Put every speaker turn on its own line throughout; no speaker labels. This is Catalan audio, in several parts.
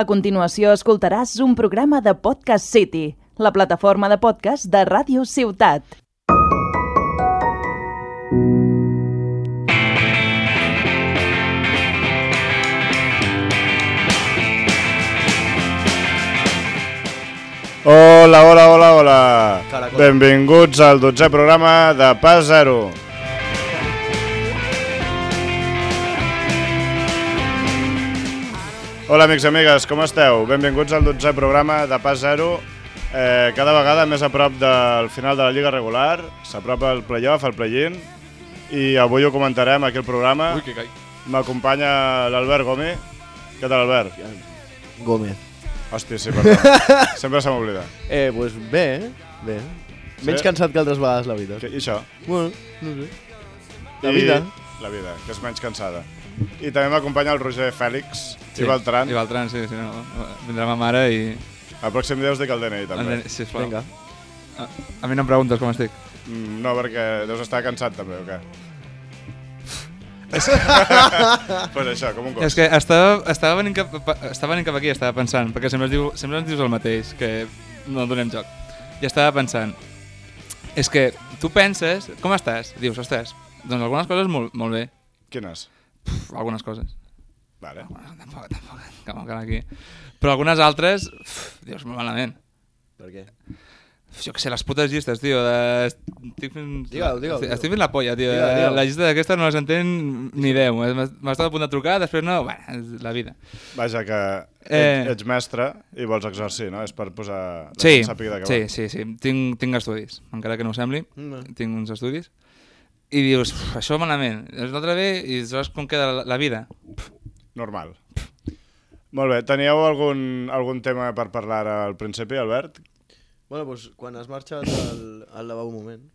A continuació escoltaràs un programa de Podcast City, la plataforma de podcast de Ràdio Ciutat.
Hola, hola, hola, hola.
Caracol.
Benvinguts al 12è programa de Pas Zero. Hola, amics i amigues, com esteu? Benvinguts al 12è programa de Pas Zero. Eh, cada vegada més a prop del final de la Lliga regular, s'apropa el playoff, el play-in, i avui ho comentarem aquí al programa.
Ui, que caic.
M'acompanya l'Albert Gomi. Què tal, Albert?
Gómez.
Hòstia, sí, perdó. Sempre se m'oblida.
Eh, doncs pues bé, eh? bé. Menys
Sí?
cansat que altres vegades, la veritat.
Que- I això?
Bueno, no sé. La
I-
vida.
La vida, que és menys cansada. I també m'acompanya el Roger Fèlix sí.
Sí.
i Beltran.
I Valtran, sí, sí, no. Vindrà ma mare i...
El pròxim dia us dic el DNI, també.
Endeni- Sisplau.
Vinga.
A, a mi no em preguntes com estic.
Mm, No, perquè deus estar cansat, també, o què? pues això, com un cos.
És que estava, estava, venint cap, pa- estava venint cap aquí i estava pensant, perquè sempre, es diu, sempre ens dius el mateix, que no donem joc. I estava pensant, és que tu penses, com estàs? Dius, ostres, doncs algunes coses molt, molt bé,
Quines?
Pff, algunes coses.
Vale.
Bueno, tampoc, tampoc, que no cal aquí. Però algunes altres, pff, dius, molt malament.
Per què?
Jo què sé, les putes llistes, tio. De... Estic fent...
Digue-ho, digue-ho,
Estic-
digue-ho.
Estic fent la polla, tio.
Digue-ho, digue-ho.
La llista d'aquesta no les entén ni 10. M'ha estat a punt de trucar, després no... Bueno, és la vida.
Vaja, que
Eh.
et, ets mestre i vols exercir, no? És per posar... la
Sí,
gent sàpiga de què
sí,
va. eh.
sí, sí. Tinc, tinc estudis, encara que no ho sembli.
Mm.
Tinc uns estudis. I dius, "Uf, això malament. És l'altre bé i saps com queda la, la vida.
Normal. Molt bé, teníeu algun, algun tema per parlar ara al principi, Albert?
Bueno, doncs pues, quan has marxat al, al lavabo un moment.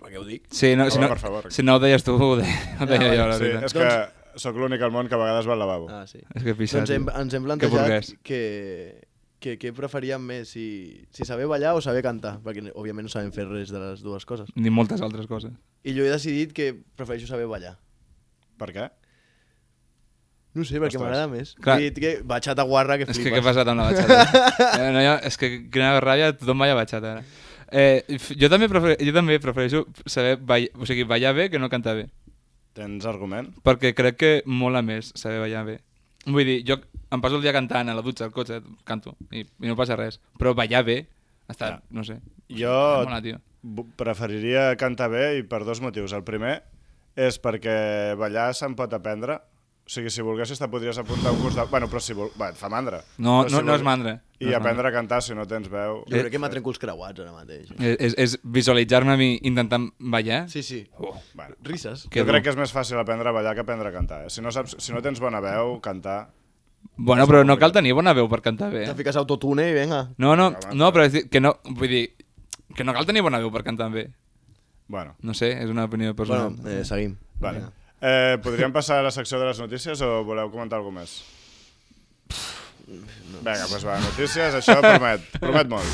Per què ho dic?
Sí, no, si,
Home,
no,
per favor.
si no ho deies tu, ho deia, ho deia
Ah,
jo, la
sí,
veritat.
és que sóc l'únic al món que a vegades va al lavabo.
Ah, sí.
És que pixar,
Doncs hem,
tio.
ens hem
Que
plantejat
burguès.
que, que, que preferíem més, si, si saber ballar o saber cantar, perquè òbviament no sabem fer res de les dues coses.
Ni moltes altres coses.
I jo he decidit que prefereixo saber ballar.
Per què?
No sé, perquè
Ostres.
m'agrada més.
Clar.
Clar. He dit que batxata guarra que
És
flipes.
que què ha passat amb la batxata? eh, no, ja, és que quina ràbia, tothom balla batxata ara. Eh, f- jo, també prefer, jo també prefereixo saber ballar, o sigui, ballar bé que no cantar bé,
Tens argument?
perquè crec que mola més saber ballar bé. Vull dir, jo em passo el dia cantant a la dutxa, al cotxe, canto, i, i no passa res. Però ballar bé, està,
Ja.
no sé,
Jo
mola, tio.
bu- preferiria cantar bé i per dos motius. El primer és perquè ballar se'n pot aprendre. O sigui, si volguessis te podries apuntar a un curs de... Bueno, però si vol... Va, et fa mandra.
No,
Però
no,
si
no
vol-
és mandra.
I
no és
aprendre a cantar si no tens veu. Eh,
Jo crec que m'ha trencat els creuats ara mateix.
mandra. És, és, és visualitzar-me a mi intentant ballar?
Eh, Sí, sí.
Oh,
Bueno.
Risses.
que
jo
dur.
crec que és més fàcil aprendre a ballar que aprendre a cantar. Eh? Si, no saps, si no tens bona veu, cantar...
Bueno, però no cal tenir bona veu per cantar bé. eh?
Te fiques autotune i venga.
No, no,
Però,
no, però és dir- que no, vull dir, que no cal tenir bona veu per cantar bé.
Bueno,
No sé, és una opinió personal.
Bueno, eh, seguim.
vale. Eh, podríem passar a la secció de les notícies o voleu comentar alguna més? Vinga, doncs va, notícies, això promet, promet molt.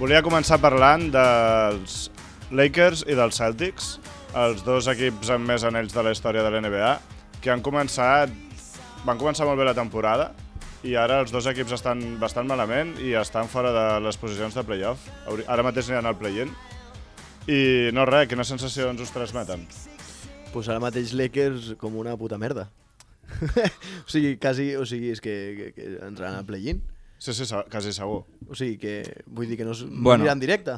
Volia començar parlant dels Lakers i dels Celtics, els dos equips amb més anells de la història de l'NBA, que han començat, van començar molt bé la temporada i ara els dos equips estan bastant malament i estan fora de les posicions de playoff. Hauri- Ara mateix aniran al play-in. I no res, quines sensacions us transmeten?
Pues ara mateix Lakers com una puta merda. o sigui, quasi, o sigui, és que, que, que entraran al play-in.
Sí, sí, se- quasi segur.
O sigui, que vull dir que no, es, no
Bueno.
aniran directe.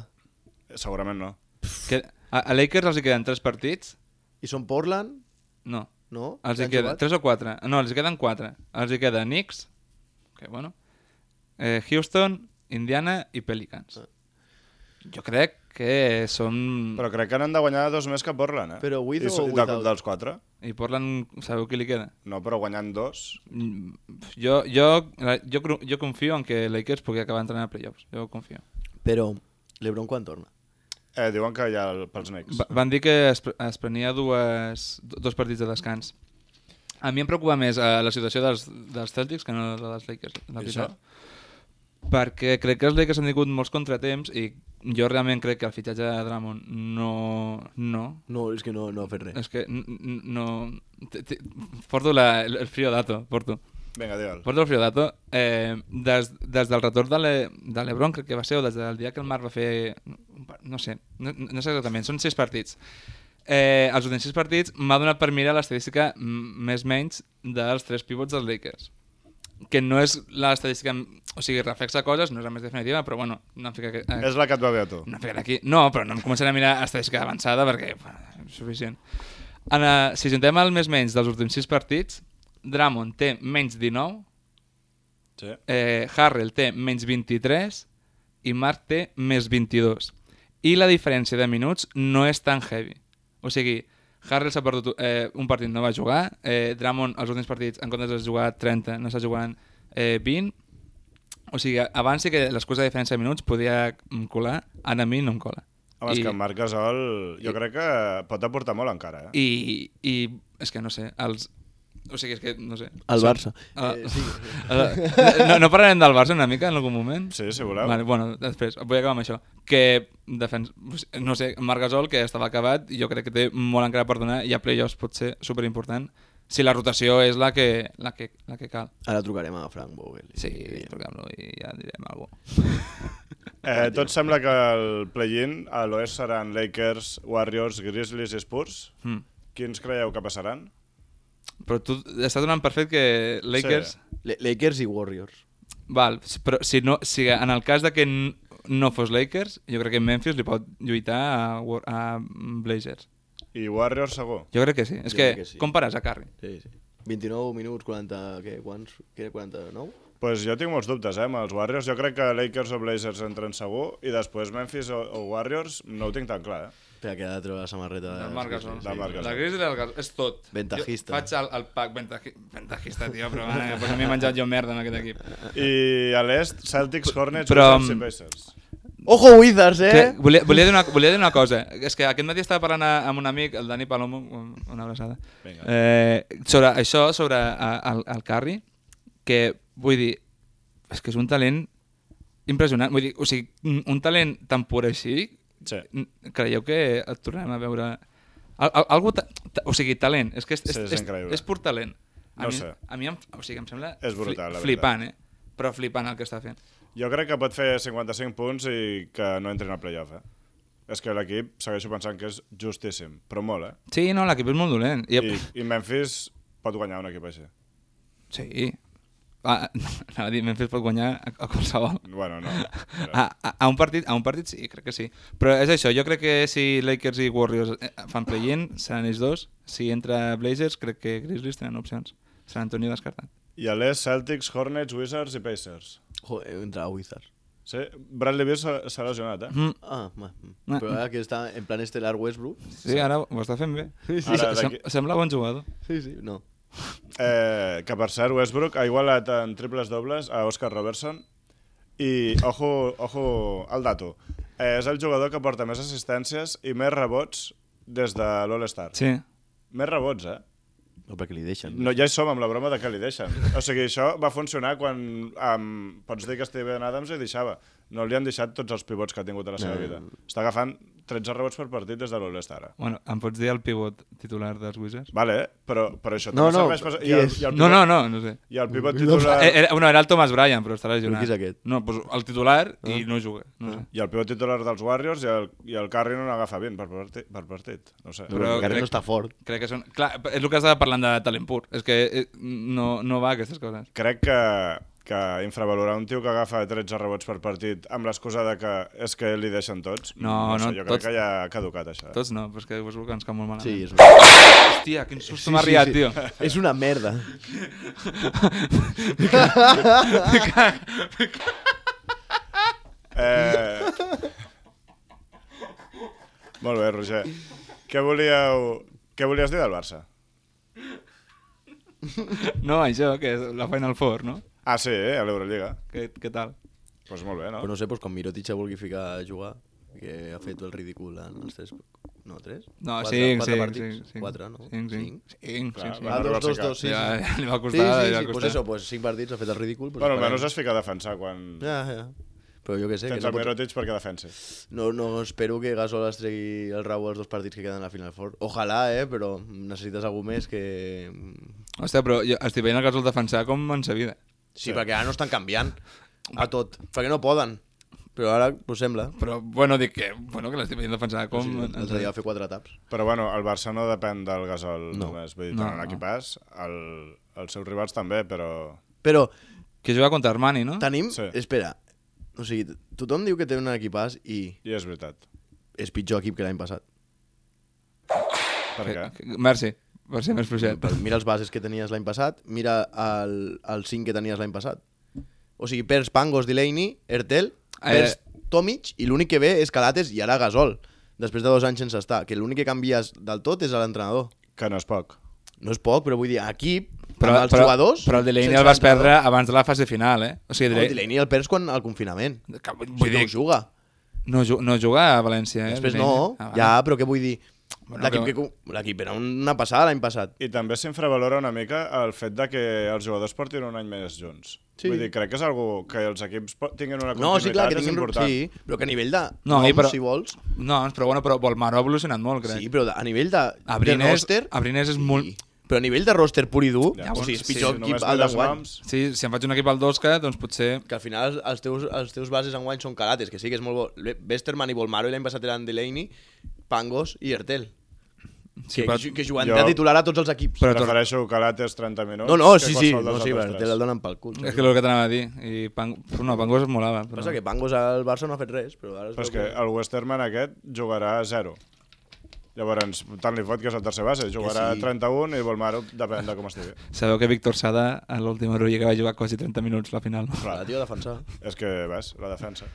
Segurament no.
Que, a, a Lakers els hi queden 3 partits?
I són Portland,
No.
no?
Els hi
Han
queden
jugat?
3 o 4? No, els hi queden 4. Els hi queda Knicks, que bueno, eh, Houston, Indiana i Pelicans.
Ah.
Jo crec que són...
Però crec que n'han de guanyar dos més que Portland, eh?
Mm. Però with
I, so-
o
de-
without?
Dels quatre?
I Portland, sabeu qui li queda?
No, però guanyant dos...
Mm, Jo, jo, jo, cro- jo confio en que Lakers pugui acabar entrant a playoffs. Jo confio.
Però l'Ebron quan torna?
Eh, diuen que hi ha el- pels Knicks.
Va, van dir que es, pre- es prenia dues, do- dos partits de descans. A mi em preocupa més eh, la situació dels, dels Celtics que no la dels Lakers, la
I
veritat. perquè crec que els Lakers han tingut molts contratemps i jo realment crec que el fitxatge de Drummond no... no
No, és que no, no ha fet res.
és que n- n- no... t- t- Porto la, el el frío dato, porto.
Vinga, digue'l.
Porto el frío dato. Eh, des, des del retorn de, Le, de l'Ebron, crec que va ser, o des del dia que el Marc va fer... No sé, no, no sé exactament, són sis partits. Eh, els últims sis partits m'ha donat per mirar l'estadística m- més menys dels tres pivots dels Lakers que no és l'estadística, o sigui, reflexa coses, no és la més definitiva, però bueno, no em fica... que- eh,
És la que et va bé a tu.
no, ficaré aquí. No, però no em començaré a mirar estadística avançada perquè bueno, és suficient. En, eh, si juntem el més menys dels últims 6 partits, Drummond té menys 19,
Sí.
eh, Harrell té menys 23 i Marc té més 22. I la diferència de minuts no és tan heavy. O sigui, Harrell s'ha perdut eh, un partit, no va jugar. Eh, Drummond, els últims partits, en comptes de jugar 30, no està jugant eh, 20. O sigui, abans sí que l'excusa de diferència de minuts podia mm, colar, ara a mi no em cola.
Home, és
I-
que en Marc Gasol jo
i-
crec que pot aportar molt encara, eh?
I, i és que no sé, els... O sigui, és que no sé.
El Barça.
Ah,
Eh, sí.
eh, no, no parlarem del Barça una mica en algun moment?
Sí, si voleu.
Vale, bueno, després, vull acabar amb això. Que defens... No sé, Marc Gasol, que estava acabat, jo crec que té molt encara per donar i a playoffs pot ser superimportant si la rotació és la que, la que, la que cal.
Eh, Ara trucarem a Frank Vogel. Eh,
Sí, truquem-lo i ja direm alguna cosa.
Eh, tot sembla que el play-in a l'oest seran Lakers, Warriors, Grizzlies i Spurs.
Mm.
Quins creieu que passaran?
Però tu estàs donant per fet que Lakers...
Sí.
La- Lakers i Warriors.
Val, però si, no, si en el cas de que n- no fos Lakers, jo crec que Memphis li pot lluitar a, Wa- a Blazers.
I Warriors segur.
Jo crec que sí. És
Jo
que,
crec que sí.
com pares a Curry?
Sí, sí. 29 minuts, 40... Què, quants? Què, 49?
Pues jo tinc molts dubtes, eh, amb els Warriors. Jo crec que Lakers o Blazers entren segur i després Memphis o, o Warriors no ho tinc tan clar, eh?
Espera, que ha de treure la samarreta.
La
de-
Marc Gasol.
sí. Del Marc Gasol.
La Grizzly del Gasol. És tot.
Ventajista.
Jo faig el, el pack ventaji, ventajista, tio, però bueno, pues m'he menjat jo merda en aquest equip.
I a l'est, Celtics, Hornets,
Eh, Però- mm,
Wizards i Pacers.
Ojo Wizards, eh?
Que, volia, volia, dir una, volia dir una cosa. És que aquest matí estava parlant a- amb un amic, el Dani Palomo, un- una abraçada,
Vinga.
eh, sobre això, sobre a- el, el Carri, que vull dir, és que és un talent impressionant. Vull dir, o sigui, un un talent tan pur així,
Sí.
n- creieu que el tornarem a veure... Al, al, algú ta, ta, o sigui, talent. És que és, és,
Sí, és increïble.
és pur talent. A
No
mi,
sé.
A mi em, o sigui, em sembla
És brutal, la
flipant, eh? Però flipant el que està fent.
Jo crec que pot fer 55 punts i que no entrin al playoff, eh? És que l'equip segueixo pensant que és justíssim, però molt, eh?
Sí, no, l'equip és molt dolent. I,
I, i Memphis pot guanyar un equip així.
Sí. Ah, anava a dir, Memphis pot guanyar a, a qualsevol.
Bueno, no. Però...
A, a, a, un partit, a un partit sí, crec que sí. Però és això, jo crec que si Lakers i Warriors eh, fan play-in, seran ells dos. Si entra Blazers, crec que Grizzlies tenen opcions. Sant Antonio descartat.
I a l'est, Celtics, Hornets, Wizards i Pacers.
Joder, entra Wizards.
Sí, Bradley Beal s'ha s'ha lesionat, eh?
Mm.
Ah, ma, mm.
Ma-
però ara que està en plan estelar Westbrook...
Sí, ara ho està fent bé.
Sí, sí.
Ara,
Ara, Sem
d'aquí-
sembla bon jugador.
Sí, sí, no.
eh? Que per cert, Westbrook ha igualat en triples dobles a Oscar Robertson i, ojo, ojo al dato, eh, és el jugador que porta més assistències i més rebots des de l'All-Star.
Sí.
Més rebots, eh?
No, perquè li deixen.
No, ja hi som amb la broma de que li deixen. O sigui, això va funcionar quan um, pots dir que Steven Adams li deixava. No li han deixat tots els pivots que ha tingut a la seva
No.
Eh.
vida. Està agafant 13 rebots per partit des de l'All-Star. ara.
Bueno, em pots dir el pivot titular dels Wizards?
Vale, eh? però, però això
No,
també
no,
serveix per...
qui és?
i el
No, no, no, no sé.
I el pivot titular...
Eh, era, bueno, era el Thomas Bryan, però està
Però
lesionat.
qui és aquest? Ah.
No, doncs el titular i no juga. No sé.
I el pivot titular dels Warriors i el, i el Curry no n'agafa 20 per partit, per partit. No sé.
Però
però
el Garrett
crec-
no està fort.
Crec que són... Clar, és el que estava parlant de talent pur. És que eh, no, no va a aquestes coses.
Crec que, que infravalorar un tio que agafa 13 rebots per partit amb l'excusa de que és que li deixen tots...
No,
sé,
no,
jo
tots-
crec que ja ha caducat això. Eh?
Tots no, però és que Westbrook ens cau molt malament.
Ah. Sí, és una...
Hòstia, quin susto m'ha riat, tio.
És una merda.
Eh... Molt bé, Roger. Què volíeu... Què volies dir del Barça?
No, això, que és la Final Four, no?
Ah, sí, eh? a l'Eurolliga.
Què, què tal?
Doncs pues molt bé, no?
Però no sé, doncs, quan Mirotic se vulgui ficar a jugar, que ha fet el ridícul en els tres No, 3?
No, 5, 5,
5,
5.
4, no?
5, 5. 5,
Clar,
5,
va,
Ah, 2, 2, 2, sí.
Sí, va,
sí.
li va
Sí,
costar,
sí,
li va
sí, pues
costar.
eso, pues 5 partits, ha fet el ridícul. Pues
Bueno,
parem.
almenys es fica a defensar quan
Ja, ja. Però jo què sé, que
tens
no,
el
pot...
Mirotic perquè defensi.
no, no espero que Gasol es tregui el rau als dos partits que queden a la Final Four. Ojalà, eh, però necessites algú més que... mm,
Hòstia, però jo estic veient el Gasol defensar com en sa vida.
Sí, sí, perquè ara no estan canviant a tot, perquè no poden. Però ara, pues sembla.
Però, bueno, dic que, bueno, que l'estic veient defensar com...
Sí,
en- en sa
l'altre dia
vida.
va fer quatre taps.
Però bueno, el Barça no depèn del Gasol
No.
només. Vull dir, no,
No,
tenen
no.
equipàs, el, els seus rivals també, però...
Però
Que juga contra Armani, no?
tenim...
Sí.
Sí. Espera, o sigui, tothom diu que té un equipàs i
I és veritat.
és pitjor equip que l'any passat.
Per què?
Que- que- Merci, per ser més fluixet.
Mira els bases que tenies l'any passat, mira el, el 5 que tenies l'any passat. O sigui, perds Pangos, Delaney, Ertel,
Ah,
perds Tomic i l'únic que ve és Calates i ara Gasol. Després de dos anys sense estar, que l'únic que canvies del tot és a l'entrenador.
Que no és poc.
No és poc, però vull dir, aquí, però, amb els jugadors...
però el Delaney
sense
el vas
l'entrenador.
perdre abans de la fase final, eh? O sigui,
No, el Delaney el perds quan al confinament.
Que, vull
Vull
dir,
dir, no juga.
no, ju- no juga a València, eh?
Després
Delaney.
no,
Ah, va.
ja, però què vull dir?
Bueno,
L'equip que...
però-
l'equip era una passada l'any passat.
I també s'infravalora una mica el fet de que els jugadors portin un any més junts.
Sí.
Sí. Vull dir, crec que és algú que els equips po- tinguin una
No,
continuïtat,
sí, clar, que
és
tinguin...
important.
Sí, però que a nivell de...
No, i però-
Si vols,
No, però bueno, però Volmaro ha evolucionat molt, crec.
Sí, però de- a nivell de,
A
de
Brinés-
roster...
a Brinés és molt-
Però a nivell de roster pur i dur,
Ja,
o sigui,
sí,
és pitjor
sí,
sí,
només
equip al
mires
d'enguany.
noms.
Sí, si em faig un equip al Dosca, doncs potser...
Que al final els teus, els teus bases enguany són calates, que sí que és molt bo. Le- Westerman i Volmaro i l'any passat eren Delaney, Pangos i Ertel.
Sí,
Sí, que,
però-
que, que juguen
Jo-
de titular a tots els equips.
Però-
Però...
Prefereixo Calates 30 minuts
No, no,
que
sí, sí,
qualsevol
no,
dels
sí,
altres
Ertel el donen pel cul.
És que és el que t'anava a dir. I Pang... No, Pangos es molava. Però...
Passa que Pangos al Barça no ha fet res, però ara... es
Però és
veu
que el Westerman aquest jugarà a 0. Llavors, tant li fot que és el tercer base. Jugarà
sí.
sí. 31 i Volmaro depèn de com estigui.
Sabeu que Víctor Sada, a l'última Eurolla, que va jugar quasi 30 minuts la final.
Clar, tio, defensar.
És que, ves, la defensa.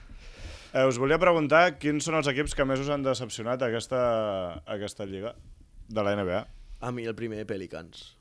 Eh, us volia preguntar quins són els equips que més us han decepcionat aquesta, aquesta lliga de la NBA.
A mi el primer Pelicans.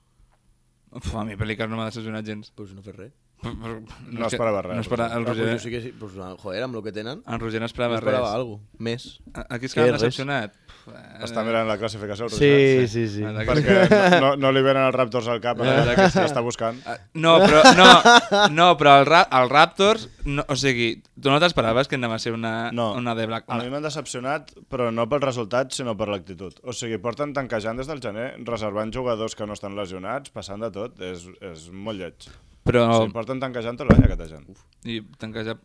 Uf, a mi Pelicans no m'ha decepcionat gens.
Pues no ha fet res.
Però- però-
No
és que-
esperava res,
No esperava, el,
Però,
Roger,
pues, jo sí que sí, pues, joder, amb el que tenen,
el Roger no
no
esperava,
esperava
res.
algo més.
A- Aquí es
Què,
queda
res?
decepcionat. Puf, eh,
Està mirant la classificació, el Roger,
sí, sí.
la- la-
Perquè no, no li venen els Raptors al
Eh.
cap,
La
ara
veritat que sí.
l'està buscant.
Ah, No, però, no, no, però el, ra el Raptors, no, o sigui, tu no t'esperaves que anava a ser una,
No,
una de Black.
a mi
Una...
m'han decepcionat, però no pel resultat, sinó per l'actitud. O sigui, porten tanquejant des del gener, reservant jugadors que no estan lesionats, passant de tot, és, és molt lleig.
Però
O sigui, porten tanquejant tot l'any aquesta gent.
i tanqueja,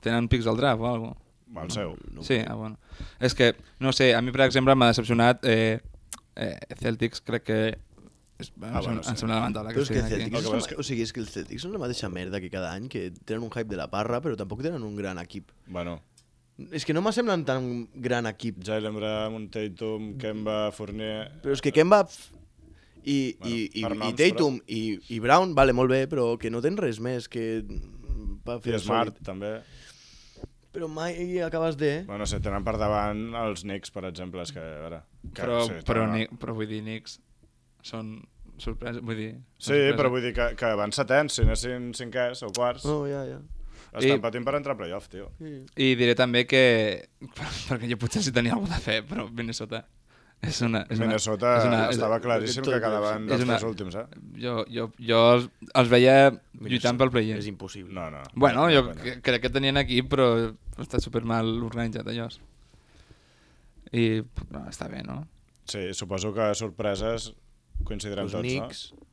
tenen pics al draft o alguna cosa?
El seu.
No. Sí, ah, bueno. És que, no sé, a mi, per exemple, m'ha decepcionat eh, eh, Celtics, crec que... És, ah,
Ah,
bueno,
bueno,
em,
sí.
sem- em sembla lamentable que
Però és que
estiguin
els
aquí.
El
Celtics,
que
són,
passa és que-
o sigui, és que els Celtics són la mateixa merda que cada any, que tenen un hype de la parra, però tampoc tenen un gran equip.
Bueno,
És que no m'assemblen tan gran equip.
Jalen Brown, Tatum, Kemba, Fournier...
Però és que Kemba f- i,
Bueno,
i, i,
per
i
noms,
Tatum i, i Brown, vale, molt bé, però que no tenen res més que... mm, Per
I
fer
Smart,
sòlid.
també.
Però mai acabes de... eh?
Bueno, no sé, tenen per davant els Knicks, per exemple, és que, a veure... Que,
Però,
sí,
però,
tenen-
ni, però vull dir, Knicks són sorpresa, vull dir...
Sí, però vull dir que, que van setens, si anessin cinquers o quarts,
Oh, ja, ja.
estan
I-
patint per entrar a playoff, tio.
I diré també que... Perquè jo potser sí tenia alguna de fe, però Minnesota... És una, és una,
Minnesota
és una,
estava claríssim
tot
que
és-
quedaven
és
dels
una-
tres últims, eh?
Jo, jo, jo els, els veia lluitant pel play-in.
És impossible.
No, no. no,
Bueno, jo
no, no.
cre- crec que tenien equip, però està super mal organitzat allò. I no, està bé, no?
Sí, suposo que sorpreses coincidirem
Els
tots,
Knicks...
no?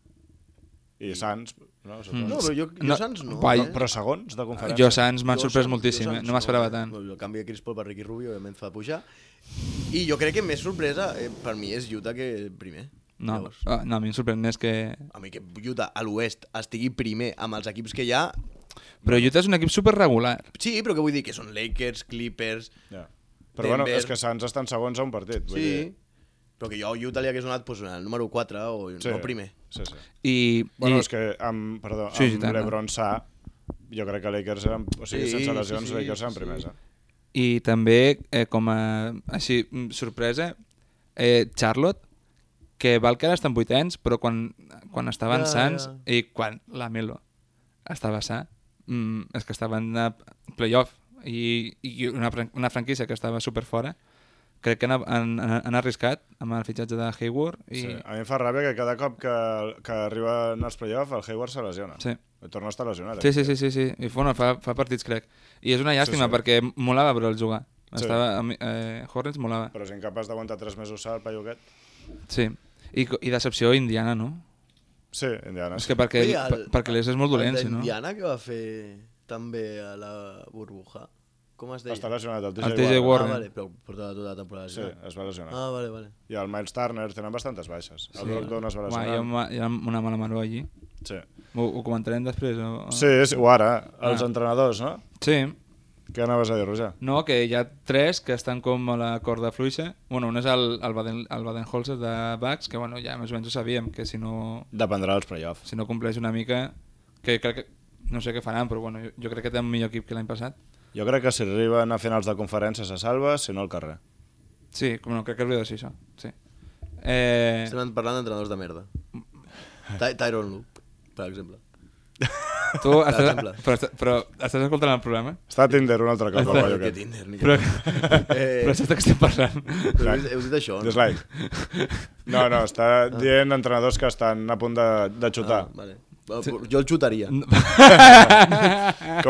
I Sants, no? Suposo.
No, però jo, jo
Mm. No,
Sants no.
guai,
eh?
Però segons de
Jo
conferència.
Sants m'han
Jo
sorprès
Sants-
moltíssim,
jo
eh?
Sants
no m'esperava
eh?
tant.
El canvi de Chris Paul per Ricky Rubio òbviament fa pujar. I jo crec que més sorpresa eh, per mi és Utah que primer.
No,
Llavors,
ah, no a mi em sorprèn més que...
a mi que Utah a l'oest estigui primer amb els equips que hi ha...
Però Utah és un equip super regular.
Sí, però què vull dir? Que són Lakers, Clippers...
Ja. Però bueno,
Denver.
és que Sants estan segons a un partit. Vull
Sí,
dir.
però que jo a Utah li hagués donat pues, el número 4 o sí. no primer.
Sí, sí.
I,
Bueno,
i
és que amb, perdó,
Sí, sí,
amb
tant, no.
Lebron Sa, jo crec que Lakers eren, o sigui,
Sí,
sense lesions,
sí, sí,
Lakers eren
sí.
primers. eh?
I també, eh, com a així, mm, sorpresa, eh, Charlotte, que val que ara estan vuitens, però quan, quan estaven
Ja,
ja, sants
ja.
i quan la Melo estava sa, mm, és que estaven a playoff i, i una, fran- una franquícia que estava super fora crec que han, han, han, han arriscat amb el fitxatge de Hayward i...
Sí. A mi em fa ràbia que cada cop que, que arriben els playoffs el Hayward se lesiona.
Sí.
Torna a estar lesionat. eh?
Sí, sí, sí, sí, sí. I bueno, fa, fa partits, crec. I és una
sí.
llàstima, sí, sí. perquè molava, però, el jugar.
Sí.
Estava, a mi- eh, Hornets molava.
Però és incapaç d'aguantar 3 mesos sal, Paiuquet.
Sí. I, co- i decepció indiana, no?
Ah, Sí, Indiana.
És que perquè,
Oi,
per, perquè les és molt dolent,
el
si no?
d'Indiana que va fer també a la burbuja. Com es deia?
Està lesionat el TJ,
El TJ Warren.
Ah, vale, però portava tota la temporada.
Sí,
lesionat.
es va lesionar.
Ah, vale, vale.
I el Miles Turner tenen bastantes baixes. El sí. Brogdon es va
Uà, hi,
lesionar.
ha, ma- hi ha una mala maró allí.
Sí.
Ho, ho comentarem després? O... o-
Sí, sí, o ara, els
Ah.
entrenadors, no?
Sí.
Què anaves a dir, Roger?
No, que hi ha tres que estan com a la corda fluixa. Bueno, un és el, el, Baden, el Baden-Holzer de Bucks, que bueno, ja més o menys ho sabíem, que si no,
Dependrà dels playoffs.
si no compleix una mica... Que crec que, no sé què faran, però bueno, jo, jo crec que té un millor equip que l'any passat.
Jo crec que si arriben a finals de conferència se salva, si no al carrer.
Sí, com no, crec que hauria de ser això. Sí. Eh, Mm.
Estem parlant d'entrenadors de merda. Ty Tyron Loop, per exemple.
tu
per
estàs,
exemple.
però, estàs- però estàs escoltant el programa?
Està a Tinder un altre cop, el
Està-
Ni que
Balloquet.
Tinder, ni que
Però,
Eh.
però saps de què estem parlant?
Però heu, heu dit això, no?
Dislike. No, no, està dient entrenadors que estan a punt de, de xutar.
Ah, vale. Va, Jo el xutaria.
Com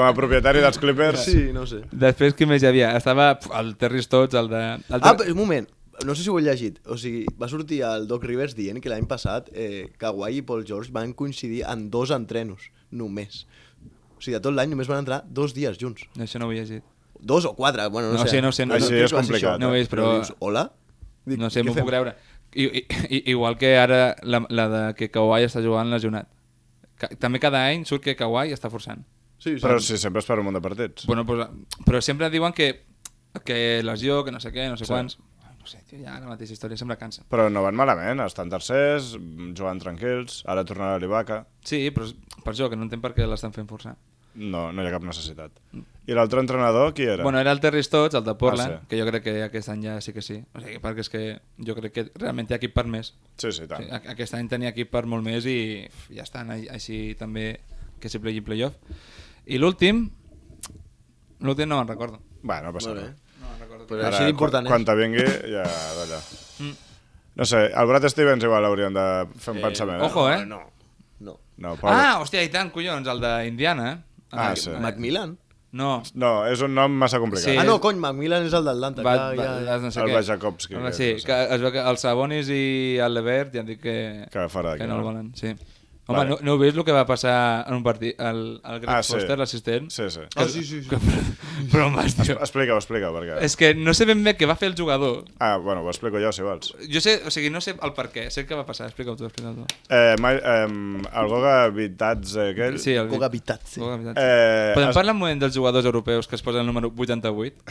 a propietari dels Clippers,
Ah. Sí, no ho sé.
Després, qui més hi havia? Estava pf, el Terry Stotts, el de... El de...
Ah, però, un moment. No sé si ho he llegit. O sigui, va sortir el Doc Rivers dient que l'any passat eh, Kawhi i Paul George van coincidir en dos entrenos, només. O sigui, de tot l'any només van entrar dos dies junts.
Això no ho he llegit.
Dos o quatre, bueno, no,
No sé, no sé, no-
Així
Així
és complicat.
No ho és, però-
Dius, Hola? Dic,
no sé,
què
m'ho
fem?
puc creure. I, i, i, igual que ara la, la de que Kawhi està jugant lesionat. Ca, també cada any surt que Kawhi està forçant.
Sí, sí.
però sí, sempre és per un munt de partits.
Bueno, pues, però sempre diuen que, que lesió, que no sé què, no sé
Sí.
sí. quants... Ai, No sé, tio, ja la mateixa història, sempre cansa.
Però no van malament, estan tercers, jugant tranquils, ara tornarà a l'Ibaca,
Sí, però és per això, que no entenc per què l'estan fent forçar.
no, no hi ha cap necessitat. I l'altre entrenador, qui era?
Bueno, era el Terry Stotts, el de Portland,
Ah,
ah,
sí.
sí. que jo crec que aquest any ja sí que sí. O sigui, perquè és que jo crec que realment té equip per més.
Sí, sí,
Sí, ah.
tant.
a- aquest any tenia equip per molt més i uf, ja estan ai- així també que s'hi play playoff. I l'últim, l'últim no me'n recordo.
Bueno, no passa
Molt bé.
res.
No me'n recordo.
Però així d'important
quan, quan
és.
te vingui, ja d'allà.
Mm.
No sé, el Brad Stevens igual hauríem de fer un pensament. Eh?
Ojo, eh?
No, no.
No, Paul...
Ah, hòstia, i tant, collons, el d'Indiana, eh?
Ah,
El-
sí.
Macmillan?
No,
No, és un nom massa complicat.
Sí.
Ah, no, cony, Macmillan és el d'Atlanta.
Eh, va,
clar,
va,
Ah, ja, ja.
no sé
El
què.
Vajakovski,
Ah,
crec
Sí,
que és.
que es veu que els Sabonis i el Levert ja han dit que,
Que fora d'aquí,
que no el
no?
volen. Sí. Home,
Vale.
vale. no, no heu vist el que va passar en un partit? El, el Greg
Ah,
ah,
sí.
Foster, l'assistent?
Sí, sí.
Ah, sí, sí, sí.
Que, però, però mas, tio.
Explica-ho, explica-ho, perquè...
És que no sé ben bé què va fer el jugador.
Ah, bueno, ho explico jo, si vols.
Jo sé, o sigui, no sé el per què. Sé què va passar. Explica-ho tu, explica-ho tu.
Eh, mai, eh, el Goga Vitats eh, aquell...
Sí, el...
Coca Vitat, sí.
Coca Vitat.
Eh,
Podem
es-
parlar un moment dels jugadors europeus que es posen el número 88?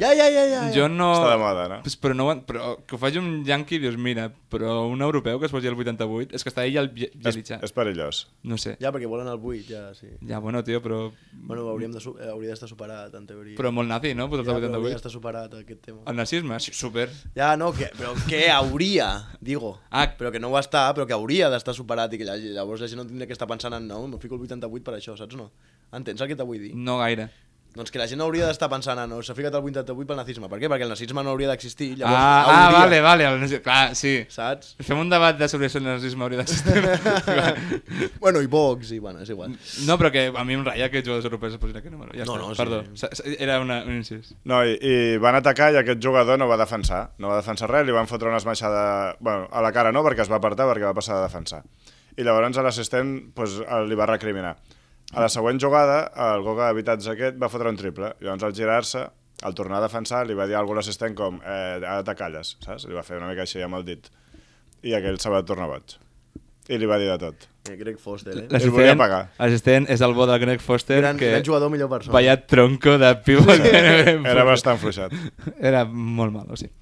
Ja, ja, ja, ja.
Jo no...
Està de moda, no?
Pues, però, no ho en- però que ho faci un yanqui, dius, mira, però un europeu que es posi el 88, és que està ell al
És,
Bielitxa.
és perillós.
No sé.
Ja, perquè volen el 8, ja, sí.
Ja, bueno, tio, però...
Bueno, ho hauríem de, su- eh, hauria d'estar superat, en teoria.
Però molt nazi, no?
ja,
Posar
però
el
hauria
88.
d'estar superat, aquest tema.
El nazisme? Sí, super.
Ja, no, que, però què hauria, digo.
Ah.
Però que no ho està, però que hauria d'estar superat i que lla- llavors la gent no tindria que estar pensant en no, em fico el 88 per això, saps o no? Entens el que t'vull dir?
No gaire.
Doncs que la gent hauria d'estar pensant en no, s'ha ficat el 88 pel nazisme. Per què? Perquè el nazisme no hauria d'existir, llavors
Ah, ah,
hauria,
vale, vale. El nazi... Clar, sí.
saps?
Fem un debat de sobre si el nazisme hauria d'existir.
bueno, i Vox, i bueno, és igual.
No, però que a mi em ratlla que els jugadors europeus es posin aquest número. Ja
No,
està.
no, sí.
Perdó, Sa- sa- era una, un incís.
No, i, i van atacar i aquest jugador no va defensar. No va defensar res, li van fotre una esmaixada... Bueno, a la cara no, perquè es va apartar, perquè va passar de defensar. I llavors a l'assistent pues, el- li va recriminar. A la següent jugada, el Goga Habitats aquest va fotre un triple. Llavors al girar-se, al tornar a defensar, li va dir a algú a l'assistent com eh, ara te calles, saps? Li va fer una mica així amb el dit. I aquell se va tornar boig. I li va dir de tot.
Eh, Greg Foster, eh?
La- L'assistent- volia pagar.
L'assistent és el bo del Greg Foster,
Gran, gran jugador, millor persona.
Vaya tronco de pivot.
Era bastant fluixat.
Era molt mal, o sigui.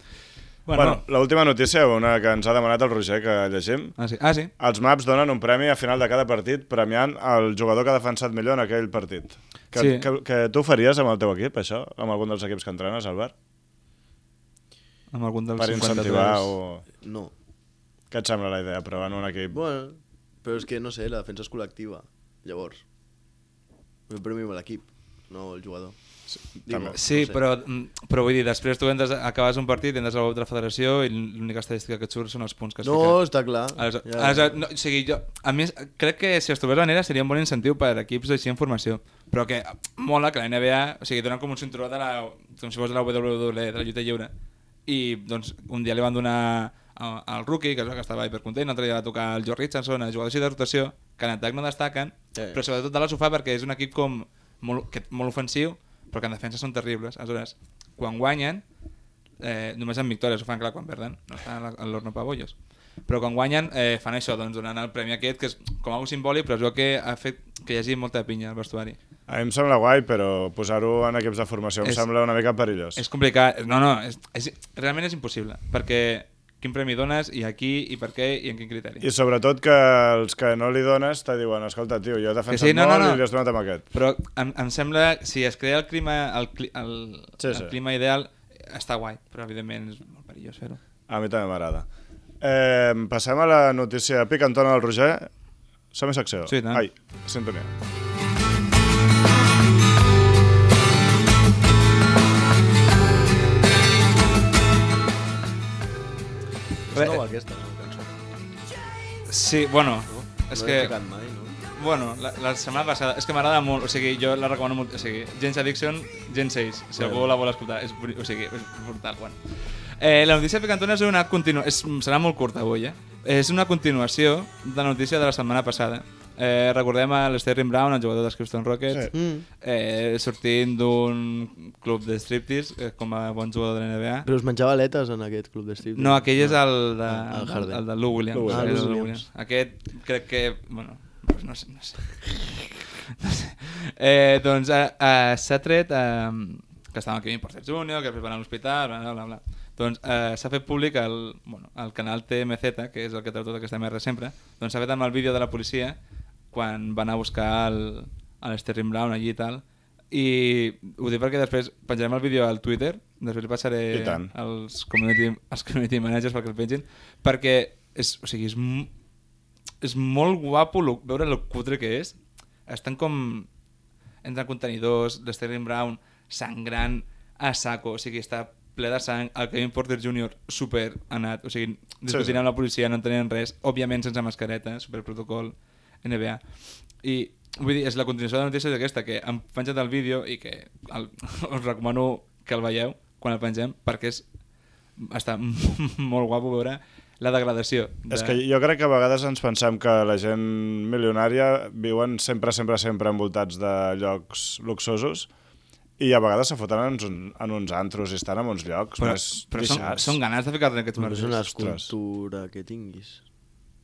Bueno, bueno l'última notícia, una que ens ha demanat el Roger que llegim,
Ah, sí. Ah, sí.
Els maps donen un premi a final de cada partit premiant el jugador que ha defensat millor en aquell partit. Que, sí.
Sí.
que, que tu ho faries amb el teu equip, això? Amb algun dels equips que entrenes al bar?
Amb algun dels
per
53.
incentivar o...
No.
Què et sembla la idea? Però en un equip...
Bueno, però és que, no sé, la defensa és col·lectiva, llavors. El premi va l'equip, no el jugador.
També,
Sí,
no sé.
però, mm, però vull dir, després tu entres, acabes un partit, entres al web de la federació i l'única estadística que et surt són els punts que has
No,
ficat.
està clar.
Aleshores,
Ja, ja.
aleshores, no, o sigui, jo, a més, crec que si es trobés la manera seria un bon incentiu per a equips així en formació, però que mola que la NBA, o sigui, donen com un cinturó de la, com si fos de la WWE, de la lluita lliure, i doncs un dia li van donar a- al rookie, que es veu que estava hipercontent, l'altre dia va tocar el Joe Richardson, a jugadors així de rotació, que en atac no destaquen,
Ja, ja.
però sobretot de la sofà perquè és un equip com molt, que, molt ofensiu, però que en defensa són terribles. Aleshores, quan guanyen, eh, només amb victòries ho fan clar quan perden, no està a la- a l'horno pabollos. Però quan guanyen eh, fan això, doncs donant el premi aquest, que és com algo simbòlic, però es veu que ha fet que hi hagi molta pinya al vestuari.
A mi em sembla guai, però posar-ho en equips de formació em
És-
sembla una mica perillós.
És complicat, no, no, és, és, realment és impossible, perquè quin premi dones, i aquí, i per què, i en quin criteri.
I sobretot que els que no li dones te diuen escolta, tio, jo he defensat
Que sí, no,
molt
no, no.
i li has donat amb aquest.
Però em, em sembla, si es crea el clima, el, cli, el,
Sí, sí.
el clima ideal, està guai, però evidentment és molt perillós fer-ho.
A mi també m'agrada. Eh, passem a la notícia picantona del Roger. Som a secció.
Sí, i tant.
Ai, sintonia.
És nova aquesta, no? cançó.
Sí, bueno, és
no l'he
que...
tocat mai, no?
Bueno, la, la setmana passada, és que m'agrada molt, o sigui, jo la recomano molt, o sigui, Gens Addiction, Gens 6, si algú la vol escoltar, és, boni- o sigui, és brutal, bueno. Eh, la notícia picantona és una continua... És, serà molt curta avui, eh? És una continuació de la notícia de la setmana passada. Eh, recordem a l'Sterling Brown, el jugador dels Houston Rockets,
Sí.
Mm.
eh, sortint d'un club de striptease eh, com a bon jugador de la NBA.
Però es menjava aletes en aquest club d'estiu.
No, aquell és el de,
Ah, el
el,
Harden.
de Lou Williams.
Lou
Ah,
Williams.
el de
Lou
Lou
Williams.
Williams. Aquest crec que... Bueno, doncs no sé, no sé. No sé. Eh, doncs eh, eh, s'ha tret... Eh, que estava aquí Kevin Porter Jr., que després va anar a l'hospital, bla, bla, bla, bla. Doncs eh, s'ha fet públic el, bueno, el canal TMZ, que és el que treu tota aquesta merda sempre, doncs s'ha fet amb el vídeo de la policia quan van a buscar el, el Sterling Brown allí i tal, i ho dic perquè després penjarem el vídeo al Twitter, després passaré
I tant.
els community, els community managers perquè el pengin, perquè és, o sigui, és, m- és molt guapo lo, veure el cutre que és. Estan com entre contenidors, l'Sterling Brown sangrant a saco, o sigui, està ple de sang, el Kevin Porter Jr. super anat, o sigui, discutint
Sí, sí.
amb la policia, no entenent res, òbviament sense mascareta, super protocol NBA. I vull dir, és la continuació de la notícia és aquesta, que han penjat el vídeo i que el, us recomano que el veieu quan el pengem, perquè és, està molt guapo veure la degradació.
És que jo crec que a vegades ens pensem que la gent milionària viuen sempre, sempre, sempre envoltats de llocs luxosos i a vegades se foten en, uns- en uns antros i estan en uns llocs
Però,
més
però són,
deixats.
són ganes de ficar-te en aquests
Però és
marges.
una
Ostres.
escultura que tinguis.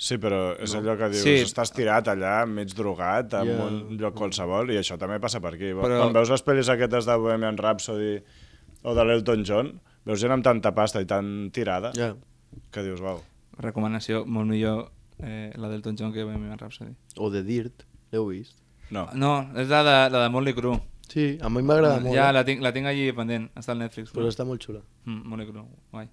Sí, però és no. allò que dius, sí.
Sí.
estàs tirat allà, mig drogat, en
Ja.
yeah. un lloc qualsevol, i això també passa per aquí. Però...
Però-
Quan veus les pel·lis aquestes de Bohemian Rhapsody o de l'Elton John, veus gent amb tanta pasta i tan
Ah.
tirada yeah.
Ja.
que dius, uau,
Recomanació molt millor eh, la d'Elton John que Bohemian Rhapsody.
O de Dirt, l'heu vist?
no.
No, és la de, la de Motley Crue.
Sí, a mi m'agrada molt.
Ja
eh?
la tinc, la tinc allí pendent, està al Netflix.
Però està molt xula.
Mm, Motley Crue, guai.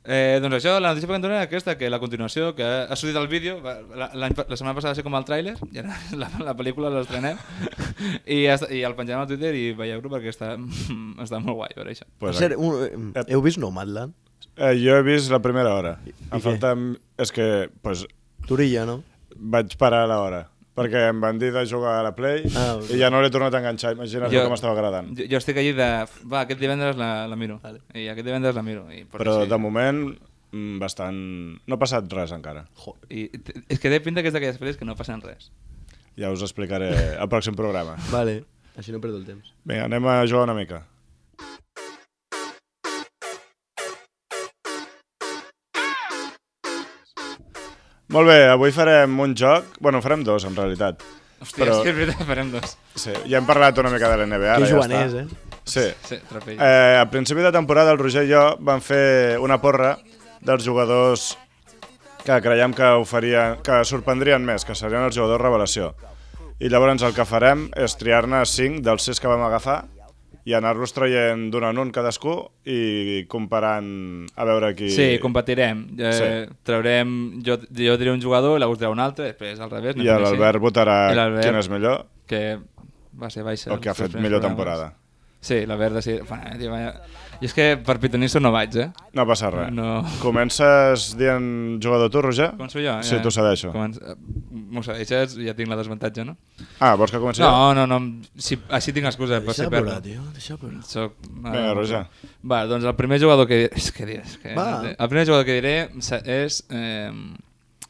Eh, doncs això, la notícia picantona era aquesta, que la continuació, que ha sortit el vídeo, va- la, l'any pa- la setmana passada va ser com el tràiler, i ara la, la pel·lícula l'estrenem, i, ja està- i el penjarem a Twitter i veieu-lo perquè està, està molt guai veure això.
Pues
Pues,
per cert, un, eh, heu vist Nomadland?
eh, jo he vist la primera hora.
I
Em
què?
falta... És que pues,
Turilla, no?
vaig parar l'hora, perquè em van dir de jugar a la Play
Ah,
i ja no l'he tornat a enganxar. Imagina't jo...
Jo-
que m'estava agradant.
Jo, jo estic allí de... Va, aquest divendres la, la miro.
Vale.
I aquest divendres la miro. I,
Però de moment, mm, bastant... No ha passat res encara.
I, t- és que té pinta que és d'aquelles pel·lis que no passen res.
Ja us explicaré al pròxim programa.
Vale, així no perdo el temps.
Vinga, anem a jugar una mica. Molt bé, avui farem un joc... Bueno, farem dos, en realitat.
Hòstia,
Però-
Però... és que és veritat, farem dos.
Sí, ja hem parlat una mica de l'NBA.
que
ara
joan
ja
és,
està.
eh?
Sí.
Sí, trapell. Eh...
Eh, a principi de temporada, el Roger i jo vam fer una porra dels jugadors que creiem que, oferia, que sorprendrien més, que serien els jugadors revelació. I llavors el que farem és triar-ne 5 dels 6 que vam agafar i anar-los traient d'un en un cadascú i comparant a veure qui...
Sí, competirem. Eh, sí.
Sí.
Traurem... Jo, jo diré un jugador, i l'August dirà un altre, després al revés.
I
anem així.
l'Albert votarà
I l'Albert.
quin és millor
Que va ser baixa.
o que ha
els tres
fet
primers
millor
programes.
temporada.
Sí, la verda sí. Bueno, tio, vaya... I és que per pitonisso no vaig, eh?
No passa res.
No.
Comences dient jugador tu, Roger?
Començo jo?
Sí, t'ho cedeixo.
Comen... eh, M'ho cedeixes i ja tinc la desavantatge, no?
Ah, vols que comenci? jo?
No, no, no. Si, així tinc excusa per si
Deixa plorar,
perdo.
tio, deixa plorar.
Soc, ah,
Vinga, Roger.
Va, doncs el primer jugador que diré... És que diré, és que...
Va.
no té- El primer jugador que diré se- és... Eh,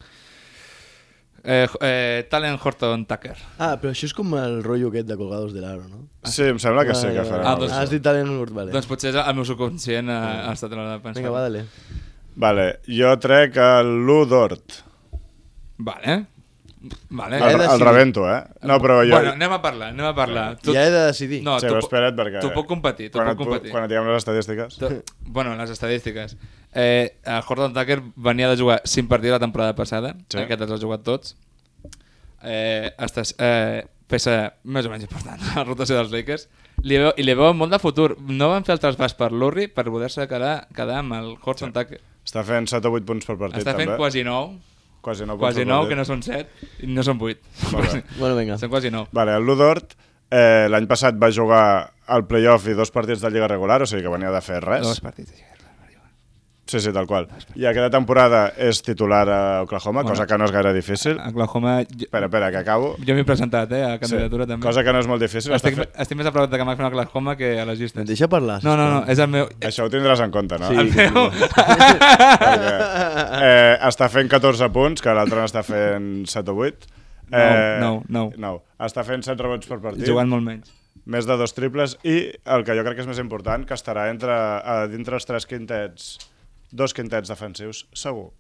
eh, eh, Talent Horton Tucker.
Ah, però això és com el rotllo aquest de Colgados de l'Aro, no?
Sí, em sembla que sí
Vale,
que
vale.
farem.
Ah,
alguna
doncs-
cosa.
Has dit talent nord, vale.
Doncs potser el meu subconscient ha, ha estat a l'hora de pensar.
Vinga, va, dale.
doncs-
Vale, jo trec l'1 d'Hort.
Vale. Vale.
El,
de
el
decidir.
rebento, eh? No, però jo...
Bueno, anem a parlar, anem a parlar. Tu-
Ja he de decidir.
No,
Sí,
tu
però
po-
espera't, perquè-
Tu puc competir, tu
quan,
puc
et pu-
competir.
quan et diguem les estadístiques.
Tu- Bueno, les estadístiques. Eh, el Horton Tucker venia de jugar 5 partits la temporada passada,
Sí.
sí. aquest els ha jugat tots. Eh, estàs, eh, peça més o menys important a la rotació dels Lakers. Li veu, I li veu molt de futur. No van fer el trasbàs per l'Urri per poder-se quedar, quedar amb el Horton sí. Tucker.
Està fent 7 o 8 punts per partit,
Està fent
també.
quasi 9,
quasi 9
quasi 9, que no són 7, i no són 8.
Molt bé.
Bueno, vinga.
són quasi 9.
Vale, el Ludort eh, l'any passat va jugar al playoff i dos partits de Lliga regular, o sigui que venia de fer res.
Dos partits.
Sí, sí, tal qual. I aquesta temporada és titular a Oklahoma,
Bueno. Ah,
cosa que no és gaire difícil.
Oklahoma... Jo,
Espera, espera, que acabo.
jo m'he presentat, eh, a candidatura també.
Cosa que no és molt difícil. Està
Estic,
fe...
estic més a prop de que m'agafin a Oklahoma que a les llistes.
Em deixa parlar.
No, no, no, és el meu...
Això ho tindràs en compte, no?
Sí.
El-
Meu...
Perquè, eh, està fent 14 punts, que l'altre n'està fent 7 o 8.
Nou, nou, nou.
Està fent 7 rebots per partit.
eh, Jugant molt menys.
més de dos triples i el que jo crec que és més important, que estarà entre, a, dintre els tres quintets, dos quintets defensius, segur.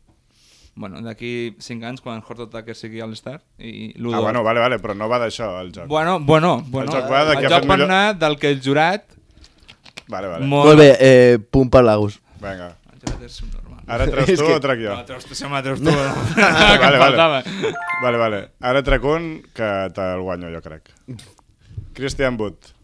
Bueno, d'aquí 5 anys, quan Horton Tucker sigui All-Star i
Ah,
Ludo...
bueno, vale, vale, però no va d'això el joc.
bueno, bueno, bueno.
El joc va de qui ha
el joc
fet
va
millor-
anar del que el jurat...
Vale, vale.
Molt,
Molt bé, eh, punt per l'Agus.
Vinga.
El jurat és subnormal.
Ara treus
És
tu
que-
o trec jo?
No, treus tu, sembla, treus tu. que
vale,
em
vale.
faltava.
Vale, vale. Ara trec un que te'l guanyo, jo crec. Christian Wood.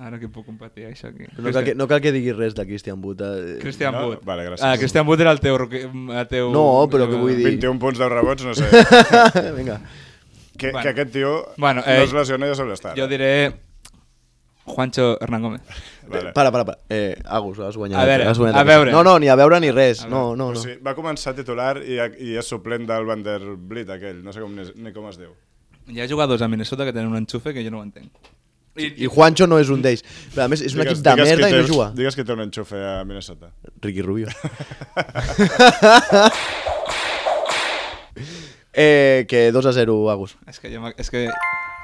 Ara que puc competir, això aquí.
No cal, que, no cal que diguis res de Christian Buta. eh.
Christian
No?
Wood.
Vale, gràcies.
Ah, Christian Wood era el teu... roque- El teu
No, però que vull dir-
21 punts, 10 rebots, no sé.
Vinga.
Que,
Bueno.
que aquest tio
Bueno,
no
eh,
es lesiona i ja eh? se l'estat.
Jo diré... Juancho Hernán Gómez.
Vale.
Para, para, para. Eh, Agus, has guanyat.
A veure,
has guanyat
a
aquesta.
veure.
No, no, ni a veure ni res. No, no,
O
no.
sigui, va començar titular i, i és suplent del Vanderbilt aquell, no sé com, ni, ni com es diu.
Hi ha jugadors a Minnesota que tenen un enxufe que jo no ho entenc.
I Juancho no és un d'ells. Però, A més, és un equip de
que
merda i
té,
no juga.
Digues que té un enxufe a Minnesota.
Ricky Rubio. eh, que 2 a 0, Agus.
És que, jo, m'ha- és que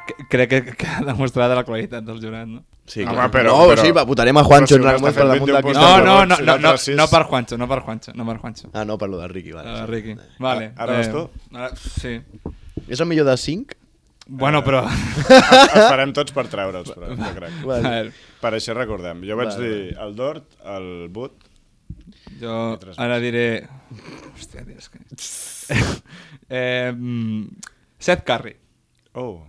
que- crec que, que ha demostrat la qualitat del jurat, no?
Sí,
Home,
clar.
però-
no,
però-
sí, va, votarem a
però
Juancho
si un
en
està
algun moment per
fent
damunt de
21 punts
No,
Cristian.
de-
no,
rebots,
no, no, no,
l'altre sis.
no per Juancho, no per Juancho, no per Juancho.
Ah, no, parlo de Ricky, vale.
Uh,
sí.
Ricky. Vale.
Ah,
eh,
Ara vas tu? Eh,
Ara, sí.
És el millor de 5?
Bueno, però...
Es es Ah, farem tots per treure'ls, però, jo crec.
Vale.
A veure,
Per això recordem. Jo vaig
Vale.
dir el Dort, el Boot...
jo ara diré... Hòstia, tio, és que... eh, mm, Seth Curry.
Oh.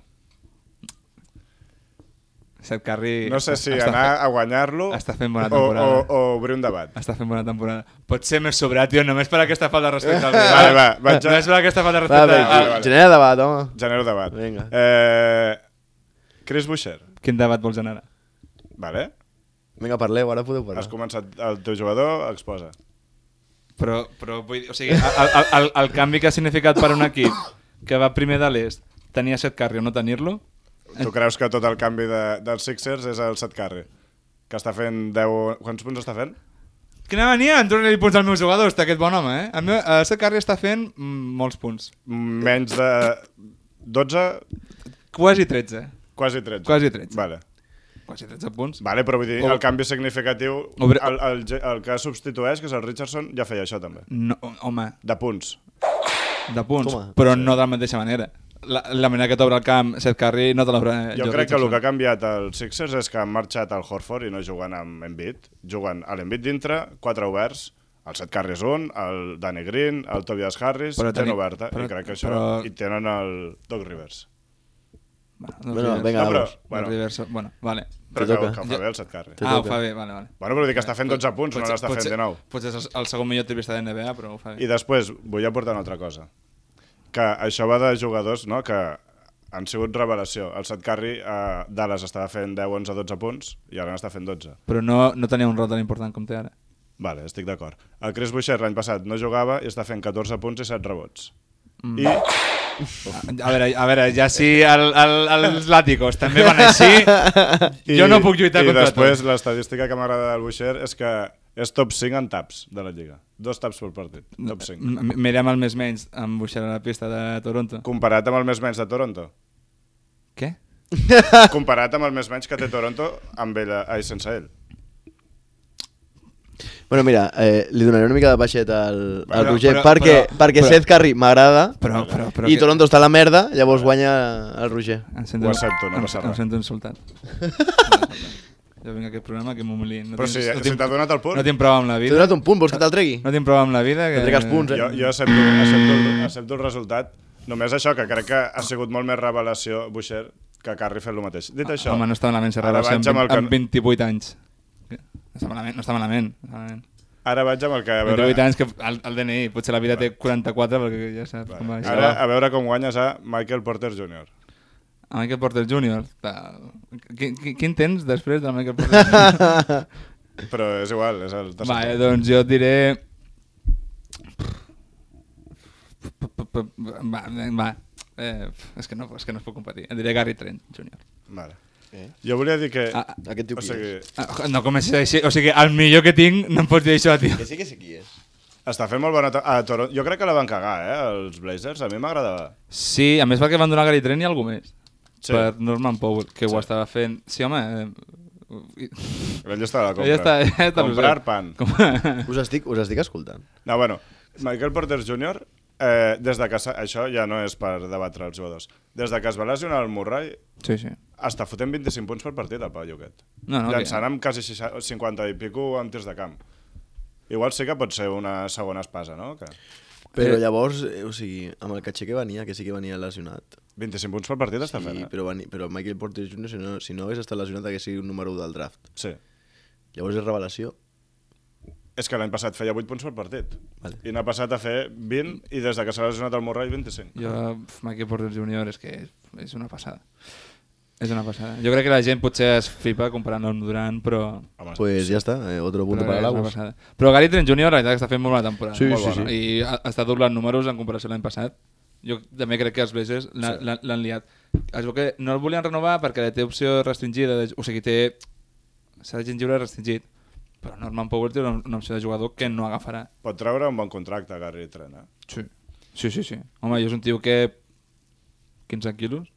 Seth Curry...
No sé si
està
anar
fent-
a guanyar-lo
Està fent bona
o,
temporada.
o, o obrir un debat.
Està fent bona temporada. Pot ser més sobrat, tio, només per aquesta falta de respecte al rival.
Vale, va, vaig a-
Només per aquesta falta de
Va,
respecte
bé,
al...
vale, vale.
genera debat, home.
Genero debat.
Vinga.
Eh, Chris Boucher,
Ah, Quin debat vols generar?
vale?
Vinga, parleu, ara podeu parlar.
Has començat el teu jugador, exposa.
Però, però vull dir, o sigui, el, el, el, el canvi que ha significat per un equip que va primer de l'est, tenia set carri o no tenir-lo,
Tu creus que tot el canvi de, dels Sixers és el Seth Curry? Que està fent 10... Quants punts està fent?
quina mania, en tornaré punts al meu jugador, està aquest bon home, eh? El, meu, el set carri està fent mm, molts punts.
Menys de 12,
Quasi 13.
quasi 13.
Quasi 13.
Vale.
Quasi 13 punts.
Vale, però vull dir,
O-
el canvi significatiu,
Obre-
el, el, ge- el que substitueix, que és el Richardson, ja feia això també.
No, home,
De punts.
de punts,
Toma.
però no de la mateixa manera. La, la manera que t'obre el camp set carri no te l'obre
Jo
Jordi
crec que el
Jackson.
que ha canviat els Sixers és que han marxat al Horford i no juguen amb Embiid. Juguen a l'Embiid dintre, quatre oberts, el Seth Curry és un, el Danny Green, el Tobias Harris, però
Però
gent
teni-
oberta,
però-
i crec que això...
però-
I tenen el Doc Rivers.
Bueno,
Bueno,
doncs Rivers.
vinga,
No, però-
Agus.
Bueno.
Bueno.
Reverso. bueno, vale.
Però
Te
que,
toca.
que ho fa bé el Seth Curry.
Te
Ah, ho
toca.
fa bé, vale, vale.
Bueno, però dir que està fent 12 punts, no
Potser-
n'està fent
potser-
19.
Potser és el, el segon millor tripista de NBA, però ho fa bé.
I després vull aportar una altra cosa. Que això va de jugadors no? que han sigut revelació. El Seth Curry a Dallas estava fent 10, 11, 12 punts i ara n'està fent 12.
Però no, no tenia un rol tan important com té ara.
Vale, estic d'acord. El Chris Boucher l'any passat no jugava i està fent 14 punts i 7 rebots. Mm. I
A veure, a veure ja si el, el, els làticos també van així,
I,
jo no puc lluitar
i
contra
després
tot.
l'estadística que m'agrada del Boucher és que és top 5 en taps de la Lliga. Dos taps per partit. Top 5.
M- Mirem el més menys amb Buixer a la pista de Toronto.
Comparat amb el més menys de Toronto.
Què?
Comparat amb el més menys que té Toronto amb ell, eh, ai, sense ell.
Bueno, mira, eh, li donaré una mica de baixet al, al
Però-
Roger
però-
perquè,
però-
perquè
però-
Seth Curry m'agrada
Però, però, però,
i
que-
Toronto està a la merda, llavors guanya el Roger.
Em sento,
Ho accepto, no
em-
passa
Em
res.
sento insultat. jo vinc a aquest programa que m'humilien. No
Però
tinc-
si-
no
si
tinc-
t'ha donat el punt.
No tinc prou amb la
T'he
vida.
donat un punt, vols que te'l tregui?
No tinc prou amb la vida. Que...
No trec els punts, eh?
Jo, jo accepto, accepto, el, accepto el resultat. Només això, que crec que ha sigut molt més revelació, Boucher, que Carri fent el mateix. Dit això...
Ah, Home, no està malament ser
ara
rebel,
vaig amb,
amb,
el que,
amb 28 anys. No està malament, no està malament. No està malament.
ara vaig amb el que... A
28
veure,
anys que el, el DNI, potser la vida té 44 perquè ja saps com va això.
ara, a veure com guanyes a Michael Porter Jr.
A Michael Porter Jr. tal. Quin, quin- quin tens després del Michael Porter Jr.?
Però és igual, és el tercer.
Va, eh, doncs jo et diré... Va, va. Eh, és, que no, és que no es pot competir. Et diré Gary Trent Jr.
Vale.
Eh?
Jo volia dir que...
Ah,
Aquest tio
o
qui
sigui,
és?
Ah, No comencis així. O sigui, el millor que tinc no em pots dir això, tio.
sí que sé qui és.
està fent molt bona... to- A Toronto, jo crec que la van cagar, eh, els Blazers. A mi m'agradava.
Sí, a més perquè van donar Gary Trent i algú més.
Sí.
Sí. Per Norman Powell, que sí. ho estava fent... Sí, home... Eh...
Ell està a la compra.
Ja està, ja està.
Comprar pan.
Com...
Us estic, us estic escoltant.
No, bueno, Michael Porter Jr., eh, des de que... s'ha- Això ja no és per debatre els jugadors. Des de que es va lesionar el Murray,
Sí, sí.
està fotent 25 punts per partit, el paio aquest.
No, no,
Llançant
que-
amb quasi 60 50 i pico amb tirs de camp. Igual sí que pot ser una segona espasa, no? Que
Però
Eh.
llavors, eh, o sigui, amb el catxer que venia, que sí que venia lesionat.
25 punts per partit està fent,
Sí,
eh?
però, veni, però Michael Porter Jr., si no, si no hagués estat lesionat, hagués sigut un número 1 del draft.
Sí.
Llavors és revelació.
És que l'any passat feia 8 punts per partit.
Vale.
I n'ha passat a fer 20 i des de que s'ha lesionat el Murray 25.
Jo, pf, Michael Porter Jr. és que és una passada. És una passada. Jo crec que la gent potser es flipa comparant-lo amb Durant, però...
Home,
Pues ja està, eh, otro punto
però
para
és una
Lagos.
passada. Però Gary Trent Jr. la veritat que està fent molt bona temporada.
Sí,
molt
sí,
bona.
sí.
I ha, està doblant números en comparació a l'any passat. Jo també crec que els Blazers l'ha-
Sí.
l'han l'han liat. Es veu que no el volien renovar perquè té opció restringida, de, o sigui, té... S'ha de gent lliure restringit. Però Norman Powell té una, una opció de jugador que no agafarà.
pot treure un bon contracte, Gary Trent, eh?
Sí. Sí, sí, sí. Home, jo és un tio que... 15 quilos?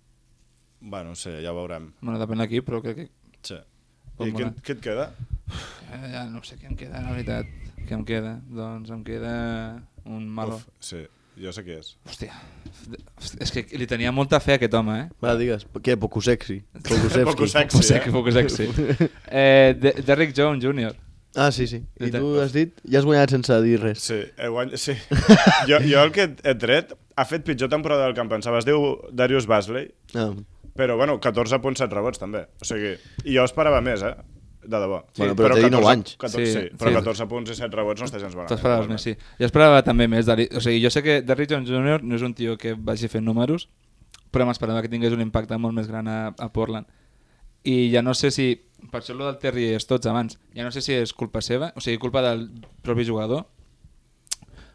Bueno, sí, ja ho veurem.
Bueno, depèn d'aquí, però crec que
Sí.
Pot
I què,
molar.
què et queda?
Ja, ja no sé què em queda, la veritat. Què em queda? Doncs em queda un malo.
Uf, sí, jo sé qui és.
Hòstia, és que li tenia molta fe a aquest home, eh?
Va, digues, què, poco sexy? Poco sexy.
Poco sexy.
Poc
eh?
sexy, poc sexy. eh, De Derrick Jones Jr.
Ah, sí, sí. I
Jo
tu
te-
has dit, ja has guanyat sense dir res.
Sí, he guany... sí. jo, jo el que he- he tret ha fet pitjor temporada del que em pensava. Es diu Darius Basley,
Ah.
però bueno, 14 punts, 7 rebots també. O sigui, i jo esperava més, eh? De debò.
Sí, Bueno, però té 19 anys.
14, sí,
Sí,
sí, però
sí.
14 punts i 7 rebots no està gens eh,
T'ho
malament.
esperaves més, sí. Jo esperava també més. De, o sigui, jo sé que Derrick Jones Jr. no és un tio que vagi fent números, però m'esperava que tingués un impacte molt més gran a, a Portland. I ja no sé si... Per això lo del Terry és tots abans. Ja no sé si és culpa seva, o sigui, culpa del propi jugador,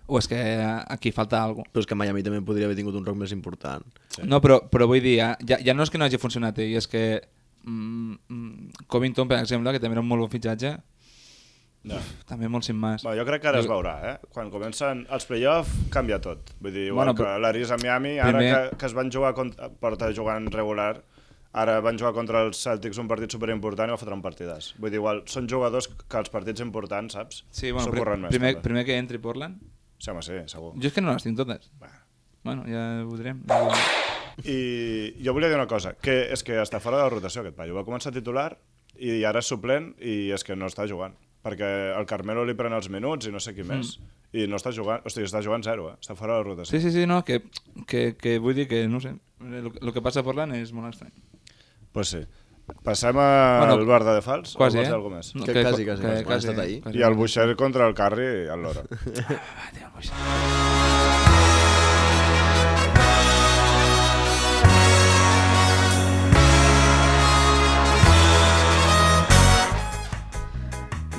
o és que aquí falta alguna
Però és que Miami també podria haver tingut un roc més important.
Sí.
No, però, però vull dir, ja, ja, ja no és que no hagi funcionat ell, és que mm, mm, Covington, per exemple, que també era un molt bon fitxatge,
No.
també molt sin mas.
Bueno, jo crec que ara es veurà, eh? Quan comencen els playoff canvia tot. Vull dir, igual
Bueno,
bueno,
però-
que l'Aris a Miami, ara
Primer-
que, que es van jugar contra, porta jugant regular, ara van jugar contra els Celtics un partit superimportant i va fotre un partidàs. Vull dir, igual, són jugadors que els partits importants, saps?
Sí, bueno,
S'ho
pri
curren més,
primer,
també.
primer que entri Portland,
Sí, home, sí, segur.
jo és que no les tinc totes.
Va.
Bueno, ja ho direm. Ja ho direm.
I jo volia dir una cosa, que és que està fora de la rotació aquest paio. Va començar titular i ara és suplent i és que no està jugant. Perquè el Carmelo li pren els minuts i no sé
Mm.
qui més. I no està jugant, hòstia, està jugant zero, eh? Està fora de la rotació.
Sí, sí, sí, no, que, que, que vull dir que, no ho sé, el, el que passa a Portland és molt estrany.
Pues sí. Passem al
Bueno,
bueno, bar de defals? o
Quasi,
vols
eh?
dir alguna cosa més?
Que quasi, quasi, quasi, quan ha estat ahir.
I el Buixer contra el Carri a l'hora.
Ah, tio, el Buixer.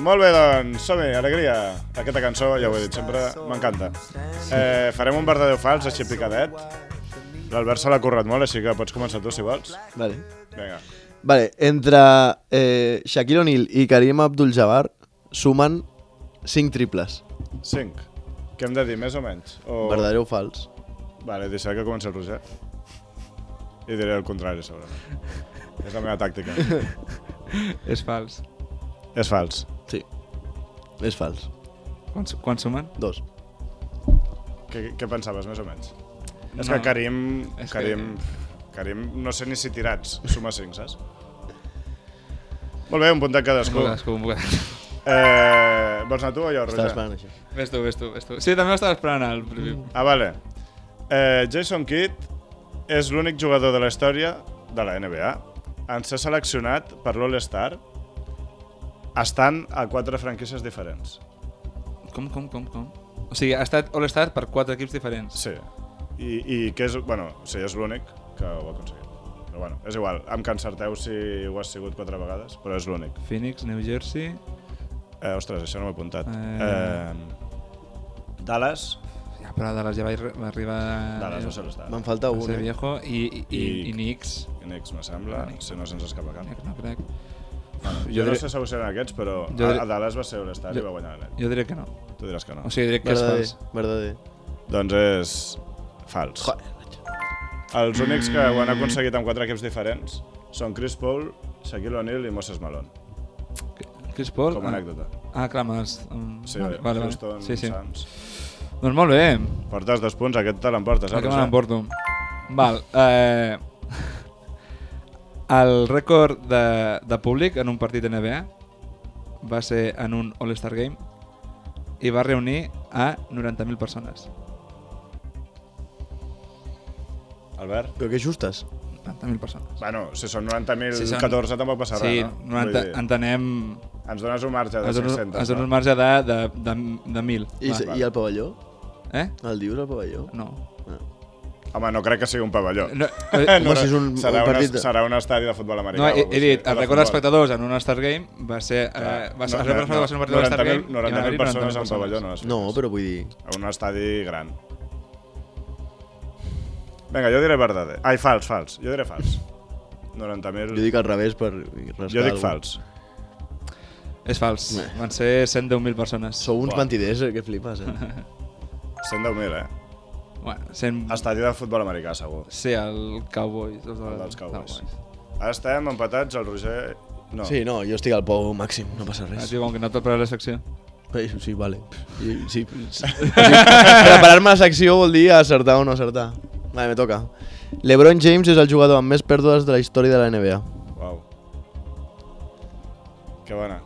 Molt bé, doncs som-hi, alegria. Aquesta cançó, ja ho he dit sempre, m'encanta. Eh, farem un verdadeu fals, així picadet. L'Albert se l'ha currat molt, així que pots començar tu, si vols.
Vale.
Vinga.
Vale, entre eh, Shaquille O'Neal i Karim Abdul-Jabbar sumen 5 triples.
5. Què hem de dir, més o menys? O...
Oh. Verdadeu o fals?
Vale, deixaré que comenci el Roger. I diré el contrari, segurament. És la meva tàctica.
És fals.
És fals.
Sí. És fals.
Quants, quants sumen?
Dos.
Què, què pensaves, més o menys? No. És
No.
que Karim...
És que-
Karim... Karim, no sé ni si tirats, suma 5, saps? Molt bé, un puntet cadascú.
Cadascú, un bocadàs.
Eh, vols anar tu o jo,
Estava
Roger?
esperant això.
Ves tu, ves tu, ves tu. Sí, també ho estava esperant al principi.
Ah, vale. Eh, Jason Kidd és l'únic jugador de la història de la NBA en ser seleccionat per l'All-Star estant a quatre franquícies diferents.
Com, com, com, com? O sigui, ha estat All-Star per quatre equips diferents.
Sí. I, i que és, bueno, sí, és l'únic que ho ha aconseguit. Però bueno, és igual, em que encerteu si ho has sigut quatre vegades, però és l'únic.
Phoenix, New Jersey...
Eh, ostres, això no m'ho he apuntat.
Eh.
Eh... Dallas,
Ja, però de les ja vaig re- va arribar... eh,
Dallas va ser l'All-Star.
Me'n falta
a
un,
ser
eh?
viejo i, i, i,
I-
i Knicks.
Knicks, me sembla, si no se'ns escapa cap.
Knicks, No crec.
Bueno,
Jo
jo, no
diré-
sé si ho seran aquests, però
Jo
a,
diré-
a Dallas va ser l'Estat i
Jo-
va guanyar la net.
Jo diré que no.
Tu diràs que no.
O sigui, diré que és
Verdader,
fals.
verdader.
Doncs és fals.
Joder, macho.
Els únics que ho han aconseguit amb quatre equips diferents són Chris Paul, Shaquille O'Neal i Moses Malone,
Chris Paul...
com a anècdota.
Ah, clar, amb els... Amb...
Sí, um,
vale, vale, vale.
Houston,
Sí, sí.
Suns.
Doncs molt bé.
Portes dos punts, aquest te l'emportes, eh?
Perquè me
Roger?
l'emporto. Val. Eh, el rècord de, de públic en un partit NBA va ser en un All-Star Game i va reunir a 90.000 persones.
Albert?
Però que justes.
90.000 persones.
Bueno, si són 90.014
Si són-
tampoc passa
sí,
res, no? Vull
90,
dir,
entenem...
Ens dones un marge de
Es dona,
500,
es dona un
no?
marge de, de, de, de 1.000.
I,
Va.
se- I el pavelló?
Eh?
El dius, el pavelló?
No.
Home, no crec que sigui un pavelló.
no eh,
Home, si és un-
serà,
un partit
un,
de-
serà un estadi de futbol americà.
No,
o
he,
alguna cosa
he dit,
així, o
el
de
rècord
futbol.
d'espectadors en un All-Star Game va ser... Eh, va ser el rècord d'espectadors en un partit d'All-Star Game... i va
90.000
haver-hi
persones a un
90.000
pavelló no les
No,
fiques.
però vull dir...
A un estadi gran. Vinga, jo diré verdader. Ai, fals, fals. Jo diré fals. 90.000...
Jo dic al revés per rascar
jo dic
algú.
fals.
És fals.
Bé.
Van ser 110.000 persones.
Sou uns
Buah.
mentiders, eh, que flipes, eh?
110.000, eh?
Bueno, 100...
Estadi de futbol americà, segur.
Sí, el Cowboys. Els de...
El dels Cowboys. Ara estem empatats, el Roger... No.
Sí, no, jo estic al pou màxim, no passa
Ah,
res.
tio, com que no t'ha preparat la secció.
Ei, Sí, vale. Sí, sí. sí. Preparar-me la secció vol dir acertar o no acertar. Vale, me toca. LeBron James és el jugador amb més pèrdues de la història de la NBA.
Uau. Que bona.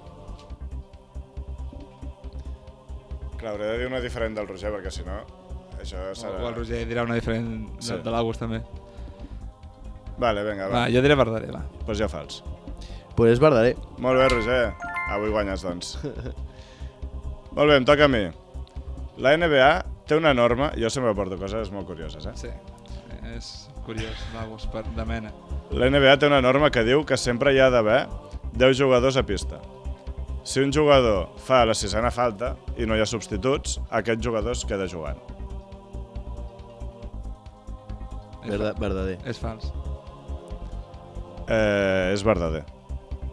Clar, hauré de dir una diferent del Roger, perquè si no... Això
O,
serà...
o el Roger dirà una diferent de,
Sí.
de l'August, també.
Vale, vinga, va.
Va, jo diré verdader, va.
Doncs pues ja fals.
Pues és verdader.
Molt bé, Roger. Avui guanyes, doncs. molt bé, em toca a mi. La NBA té una norma... Jo sempre porto coses molt curioses, eh?
Sí. És curiós, l'August, per... de mena.
La NBA té una norma que diu que sempre hi ha d'haver 10 jugadors a pista. Si un jugador fa la sisena falta i no hi ha substituts, aquest jugador es queda jugant.
És
Verda, verdader.
fa- És fals.
Eh, és verdader.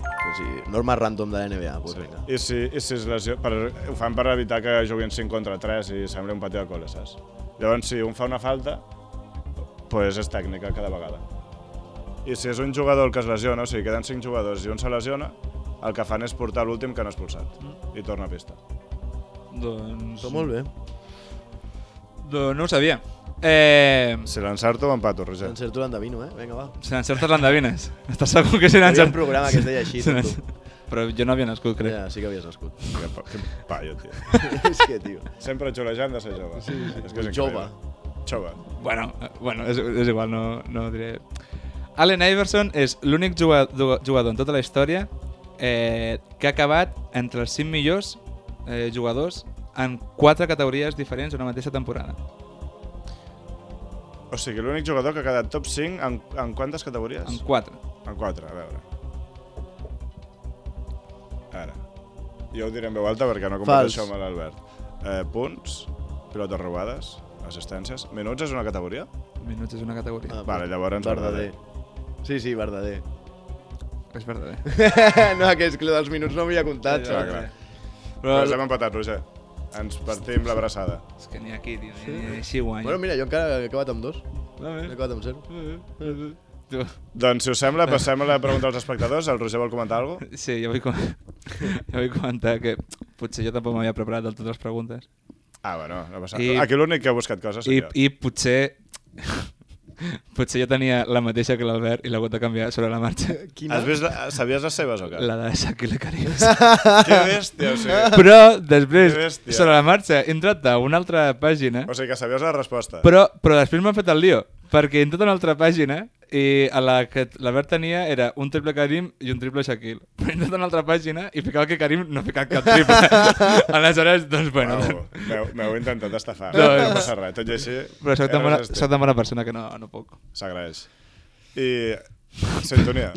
O sigui, norma random de la NBA. Pues
Sí.
vinga.
I si, i si es lesio... per, ho fan per evitar que juguin 5 contra 3 i sembli un pati de col·le, saps? Llavors, si un fa una falta, pues és tècnica cada vegada. I si és un jugador el que es lesiona, o sigui, queden 5 jugadors i un se lesiona, el que fan és portar l'últim que han expulsat i torna a pista.
Doncs...
Està molt bé.
Doncs no ho sabia. Eh...
Si l'encerto, empato, Roger.
Encerto l'endevino, eh? Vinga, va.
Si n'encertes l'endevines. Estàs segur que si
Hi havia
n'encertes...
un programa que es deia així,
si
tot.
n'encer- Però jo no havia nascut, crec.
Ja, sí que havies nascut.
Que, pa- que paio, tio.
és que, tio.
Sempre xulejant de ser jove. Sí, sí. És que és
Jove.
increïble. Jove.
Bueno, eh, bueno és, és igual, no, no diré... Allen Iverson és l'únic juga- du- jugador en tota la història eh, que ha acabat entre els 5 millors eh, jugadors en quatre categories diferents una mateixa temporada.
O sigui, l'únic jugador que ha quedat top 5 en, en quantes categories?
En quatre.
En 4, a veure. Ara. Jo ho diré en veu alta perquè no
Fals.
comparto això amb l'Albert. Eh, punts, pilotes robades, assistències... Minuts és una categoria?
Minuts és una categoria.
Ah,
Vale, llavors verdader.
Sí, sí, verdader.
És veritat. eh?
no, que és que lo dels minuts no m'havia comptat.
clar,
saps?
clar.
Però
Però ens hem empatat, Roger. Ens partim l'abraçada.
és que ni aquí, tio, ni, ni així guany.
Bueno, mira, jo encara he acabat amb dos. He acabat amb zero.
eh, Tu,
Doncs, si us sembla, passem a la pregunta als espectadors. El Roger vol comentar alguna cosa?
sí, jo vull, com... jo vull comentar que potser jo tampoc m'havia preparat del tot les preguntes.
Ah, bueno, no passa
I-
I... Aquí l'únic que ha buscat coses
I,
soc jo.
I potser... potser jo tenia la mateixa que l'Albert i l'ha hagut de canviar sobre la marxa.
Has vist, la- sabies les seves o què?
La de Shaquille Carius.
Que bèstia, o sigui,
però després,
Que bèstia.
sobre la marxa, he entrat a una altra pàgina,
o sigui que sabies la resposta.
però, però després m'han fet el lío, perquè he entrat a una altra pàgina i a la que l'Albert tenia era un triple Karim i un triple Shaquille. Però he entrat a una altra pàgina i ficava que Karim no ha ficat cap triple. Aleshores, doncs, bueno...
Au, m'heu- M'heu intentat estafar.
No,
No,
no.
no passa res, tot i així...
Però soc tan,
eres
bona,
estil.
soc tan bona persona que no, no puc.
S'agraeix. I... Sintonia.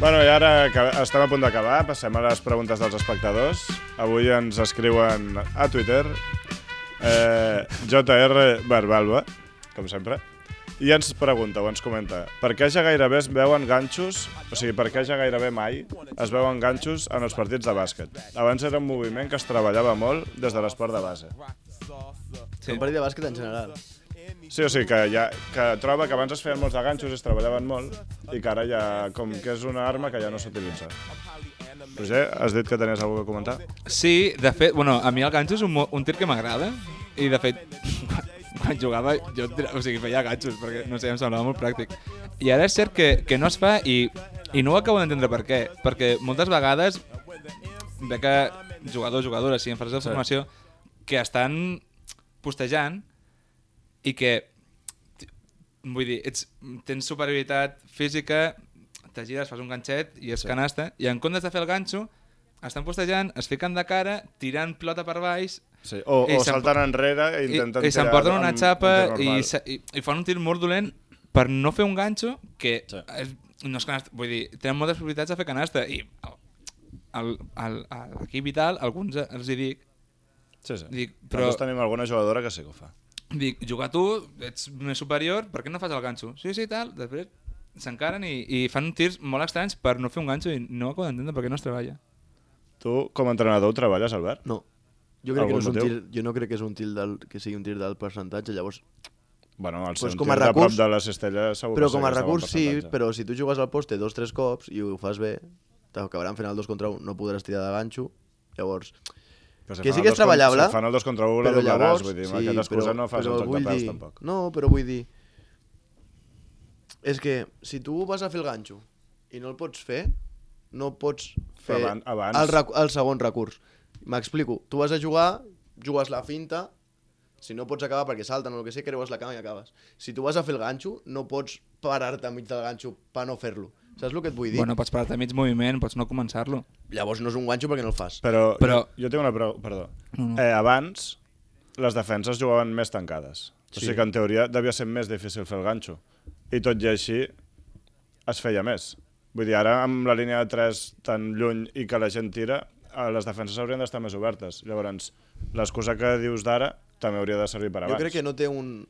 bueno, i ara que estem a punt d'acabar, passem a les preguntes dels espectadors. Avui ens escriuen a Twitter eh, JR Barbalba, com sempre, i ens pregunta o ens comenta per què ja gairebé es veuen ganxos, o sigui, per què ja gairebé mai es veuen ganxos en els partits de bàsquet. Abans era un moviment que es treballava molt des de l'esport de base.
Sí. Un partit de bàsquet en general.
Sí, o sigui, que, ja, que troba que abans es feien molts de ganxos, es treballaven molt, i que ara ja, com que és una arma que ja no s'utilitza. Roger, has dit que tenies alguna cosa a comentar?
Sí, de fet, bueno, a mi el ganxo és un, mo- un tir que m'agrada i de fet, quan, quan jugava jo tira- o sigui, feia ganxos perquè no sé, em semblava molt pràctic. I ara és cert que, que no es fa i, i no ho acabo d'entendre per què, perquè moltes vegades ve que jugadors, jugadores, si en fases de formació, que estan postejant i que vull dir, ets, tens superioritat física, te gires, fas un ganxet i és canasta, i en comptes de fer el ganxo, estan postejant, es fiquen de cara, tirant pilota per baix,
Sí, o,
I
o
se'n-
saltant enrere i
i,
intentant...
i
tirar
s'emporten eh, una
amb- amb
xapa
tir
i,
normal.
se- i, i fan un tir molt dolent per no fer un ganxo que
Sí.
és, no és canasta, vull dir, tenen moltes possibilitats de fer canasta i el- el- el- a l'equip vital, alguns els hi dic,
Sí, sí.
Dic, però-
però... Nosaltres tenim alguna jugadora que sí que ho fa.
dic, jugar tu, ets més superior, per què no fas el ganxo? Sí, sí, tal, després s'encaren i, i fan tirs molt estranys per no fer un ganxo i no acabo d'entendre per què no es treballa.
Tu, com a entrenador, ho treballes, Albert?
No. Jo crec, que no
Algun
és un
motiu?
tir, jo no crec que, és un tir del, que sigui un tir del percentatge, llavors...
Bueno, el
Pues
pues
com a
de prop
recurs-
de la cistella segur
Però
que
com a
segueix el
recurs
bon
sí,
percentatge.
però si tu jugues al poste dos tres cops i ho fas bé, t'acabaran fent el dos contra un, no podràs tirar de ganxo, llavors...
Però si
que
fan
sí
el
que
dos
és
con-
treballable,
Si fan el 2 contra 1 la
però
doblaràs,
llavors...
vull dir, amb aquesta excusa no fas el
però
joc de
vull
peus
dir,
tampoc.
No, però vull dir... És que si tu vas a fer el ganxo i no el pots fer, no pots fer
aban- abans-
El, recu- el segon recurs. M'explico. Tu vas a jugar, jugues la finta, si no pots acabar perquè salten o el que sé, creues la cama i acabes. Si tu vas a fer el ganxo, no pots parar-te enmig del ganxo per no fer-lo. Saps el que et vull dir?
Bueno, pots parar-te a mig moviment, pots no començar-lo.
Llavors no és un ganxo perquè no el fas.
Però, però...
Però-
Jo, jo tinc una prou, perdó. Eh, abans, les defenses jugaven més tancades. O
Sí.
sigui que en teoria devia ser més difícil fer el ganxo. I tot i així, es feia més. Vull dir, ara amb la línia de 3 tan lluny i que la gent tira, eh, les defenses haurien d'estar més obertes. Llavors, l'excusa que dius d'ara també hauria de servir per abans.
Jo crec que no té un...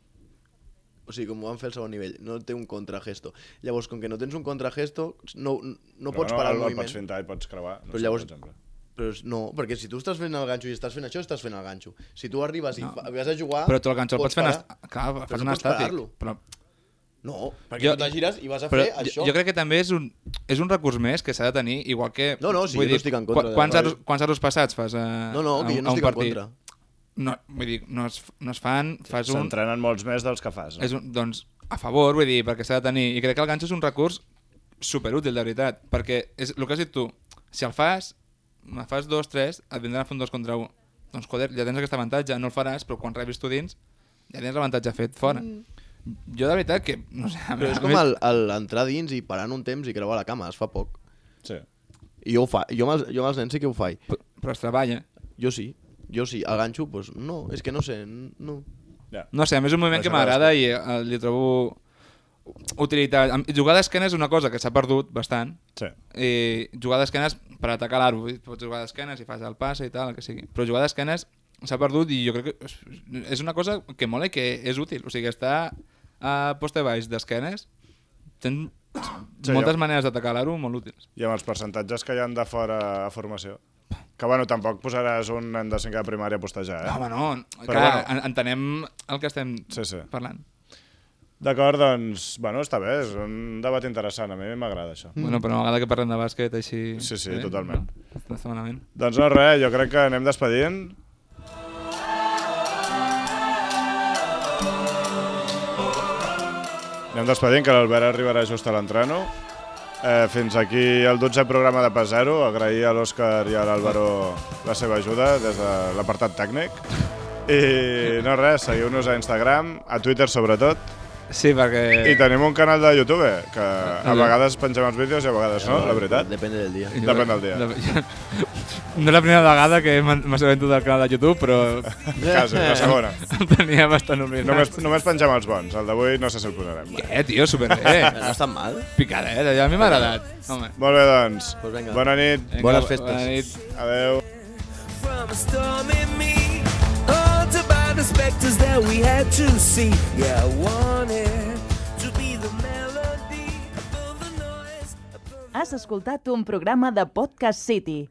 O sigui, com ho van fer al segon nivell, no té un contragesto. Llavors, com que no tens un contragesto, no, no, no pots parar el,
el,
moviment.
pots fintar i pots creuar. No
Però
sé,
llavors-
Per exemple.
Però és- no, perquè si tu estàs fent el ganxo i estàs fent això, estàs fent el ganxo. Si tu arribes i no. vas a jugar...
Però tu el ganxo el pots fer... en
Ah, parar.
est- Clar, fas
no
un
pots
estàtic.
parar-lo.
Però,
No, perquè
Jo-
jo... tu te gires i vas a
però
fer
jo,
això.
jo crec que també és un, és un recurs més que s'ha de tenir, igual que...
No, no, sí,
vull
jo no estic en contra
qua-
de-
Quants, aros, quants aros passats fas a,
No, no,
a,
que jo
a
no
un
estic en
partit?
contra.
No, vull dir, no es, no es fan, fas un...
S'entrenen molts més dels que fas. No?
És un, doncs, a favor, vull dir, perquè s'ha de tenir. I crec que el ganxo és un recurs superútil, de veritat, perquè és el que has dit tu. Si el fas, me fas dos, tres, et vindran a fer un dos contra un. Doncs, joder, ja tens aquest avantatge, no el faràs, però quan rebis tu dins, ja tens l'avantatge fet fora. Jo, de veritat, que... No sé, a mi-
Però és
a
com
mi-
el, el entrar dins i parar en un temps i creuar la cama, es fa poc.
Sí.
I jo, ho fa, jo, amb els, jo amb els nens sí que ho faig.
Però, però es treballa.
Jo sí, jo sí. El ganxo, doncs, no, és que no sé, no.
Ja.
No sé, a més és un moviment
Això
que m'agrada i eh, li trobo utilitat. Am- Jugar d'esquena és una cosa que s'ha perdut bastant.
Sí.
I jugar d'esquenes Eh, per atacar l'arbre. Pots jugar d'esquenes i fas el passe i tal, el que sigui. Però jugar d'esquenes s'ha perdut i jo crec que és- és una cosa que mola i que és útil. O sigui, estar a poste baix d'esquenes tens
Sí,
moltes
jo-
maneres d'atacar l'aro molt útils.
I amb els percentatges que hi han de fora a formació. Que, bueno, tampoc posaràs un nen de 5 de primària a postejar, eh?
Home, no,
Però
clar,
bueno.
bueno. entenem el que estem
Sí, sí.
parlant.
D'acord, doncs, bueno, està bé, és un debat interessant, a mi m'agrada això.
Mm. Bueno, però a vegada que parlem de bàsquet així...
Sí, sí, totalment.
No, no està malament.
Doncs no, res, jo crec que anem despedint. Anem despedint, que l'Albert arribarà just a l'entreno. Eh, fins aquí el 12è programa de Pas Zero. Agrair a l'Òscar i a l'Àlvaro la seva ajuda des de l'apartat tècnic. I no res, seguiu-nos a Instagram, a Twitter sobretot.
Sí, perquè...
I tenim un canal de YouTube, que a
Ah, sí.
vegades pengem els vídeos i a vegades no, la veritat.
Depèn del dia.
Jo-
Depèn del dia.
Dep- No és la primera vegada que m'ha- m'assabento del canal de YouTube, però
Quasi, la segona.
em tenia bastant oblidat.
Només, només pengem els bons, el d'avui no sé si el posarem.
Què, Eh, tio, superbé.
No és tan mal.
Picadet, allò a mi m'ha agradat. Home.
Molt bé, doncs.
Pues vinga.
Bona nit.
Vinga,
Bones festes.
Bona nit.
Adeu.
from a storm in me. Haunted by the specters that we had to see. Yeah, I wanted to be the melody above the noise. Above
Has escoltat un programa de Podcast City,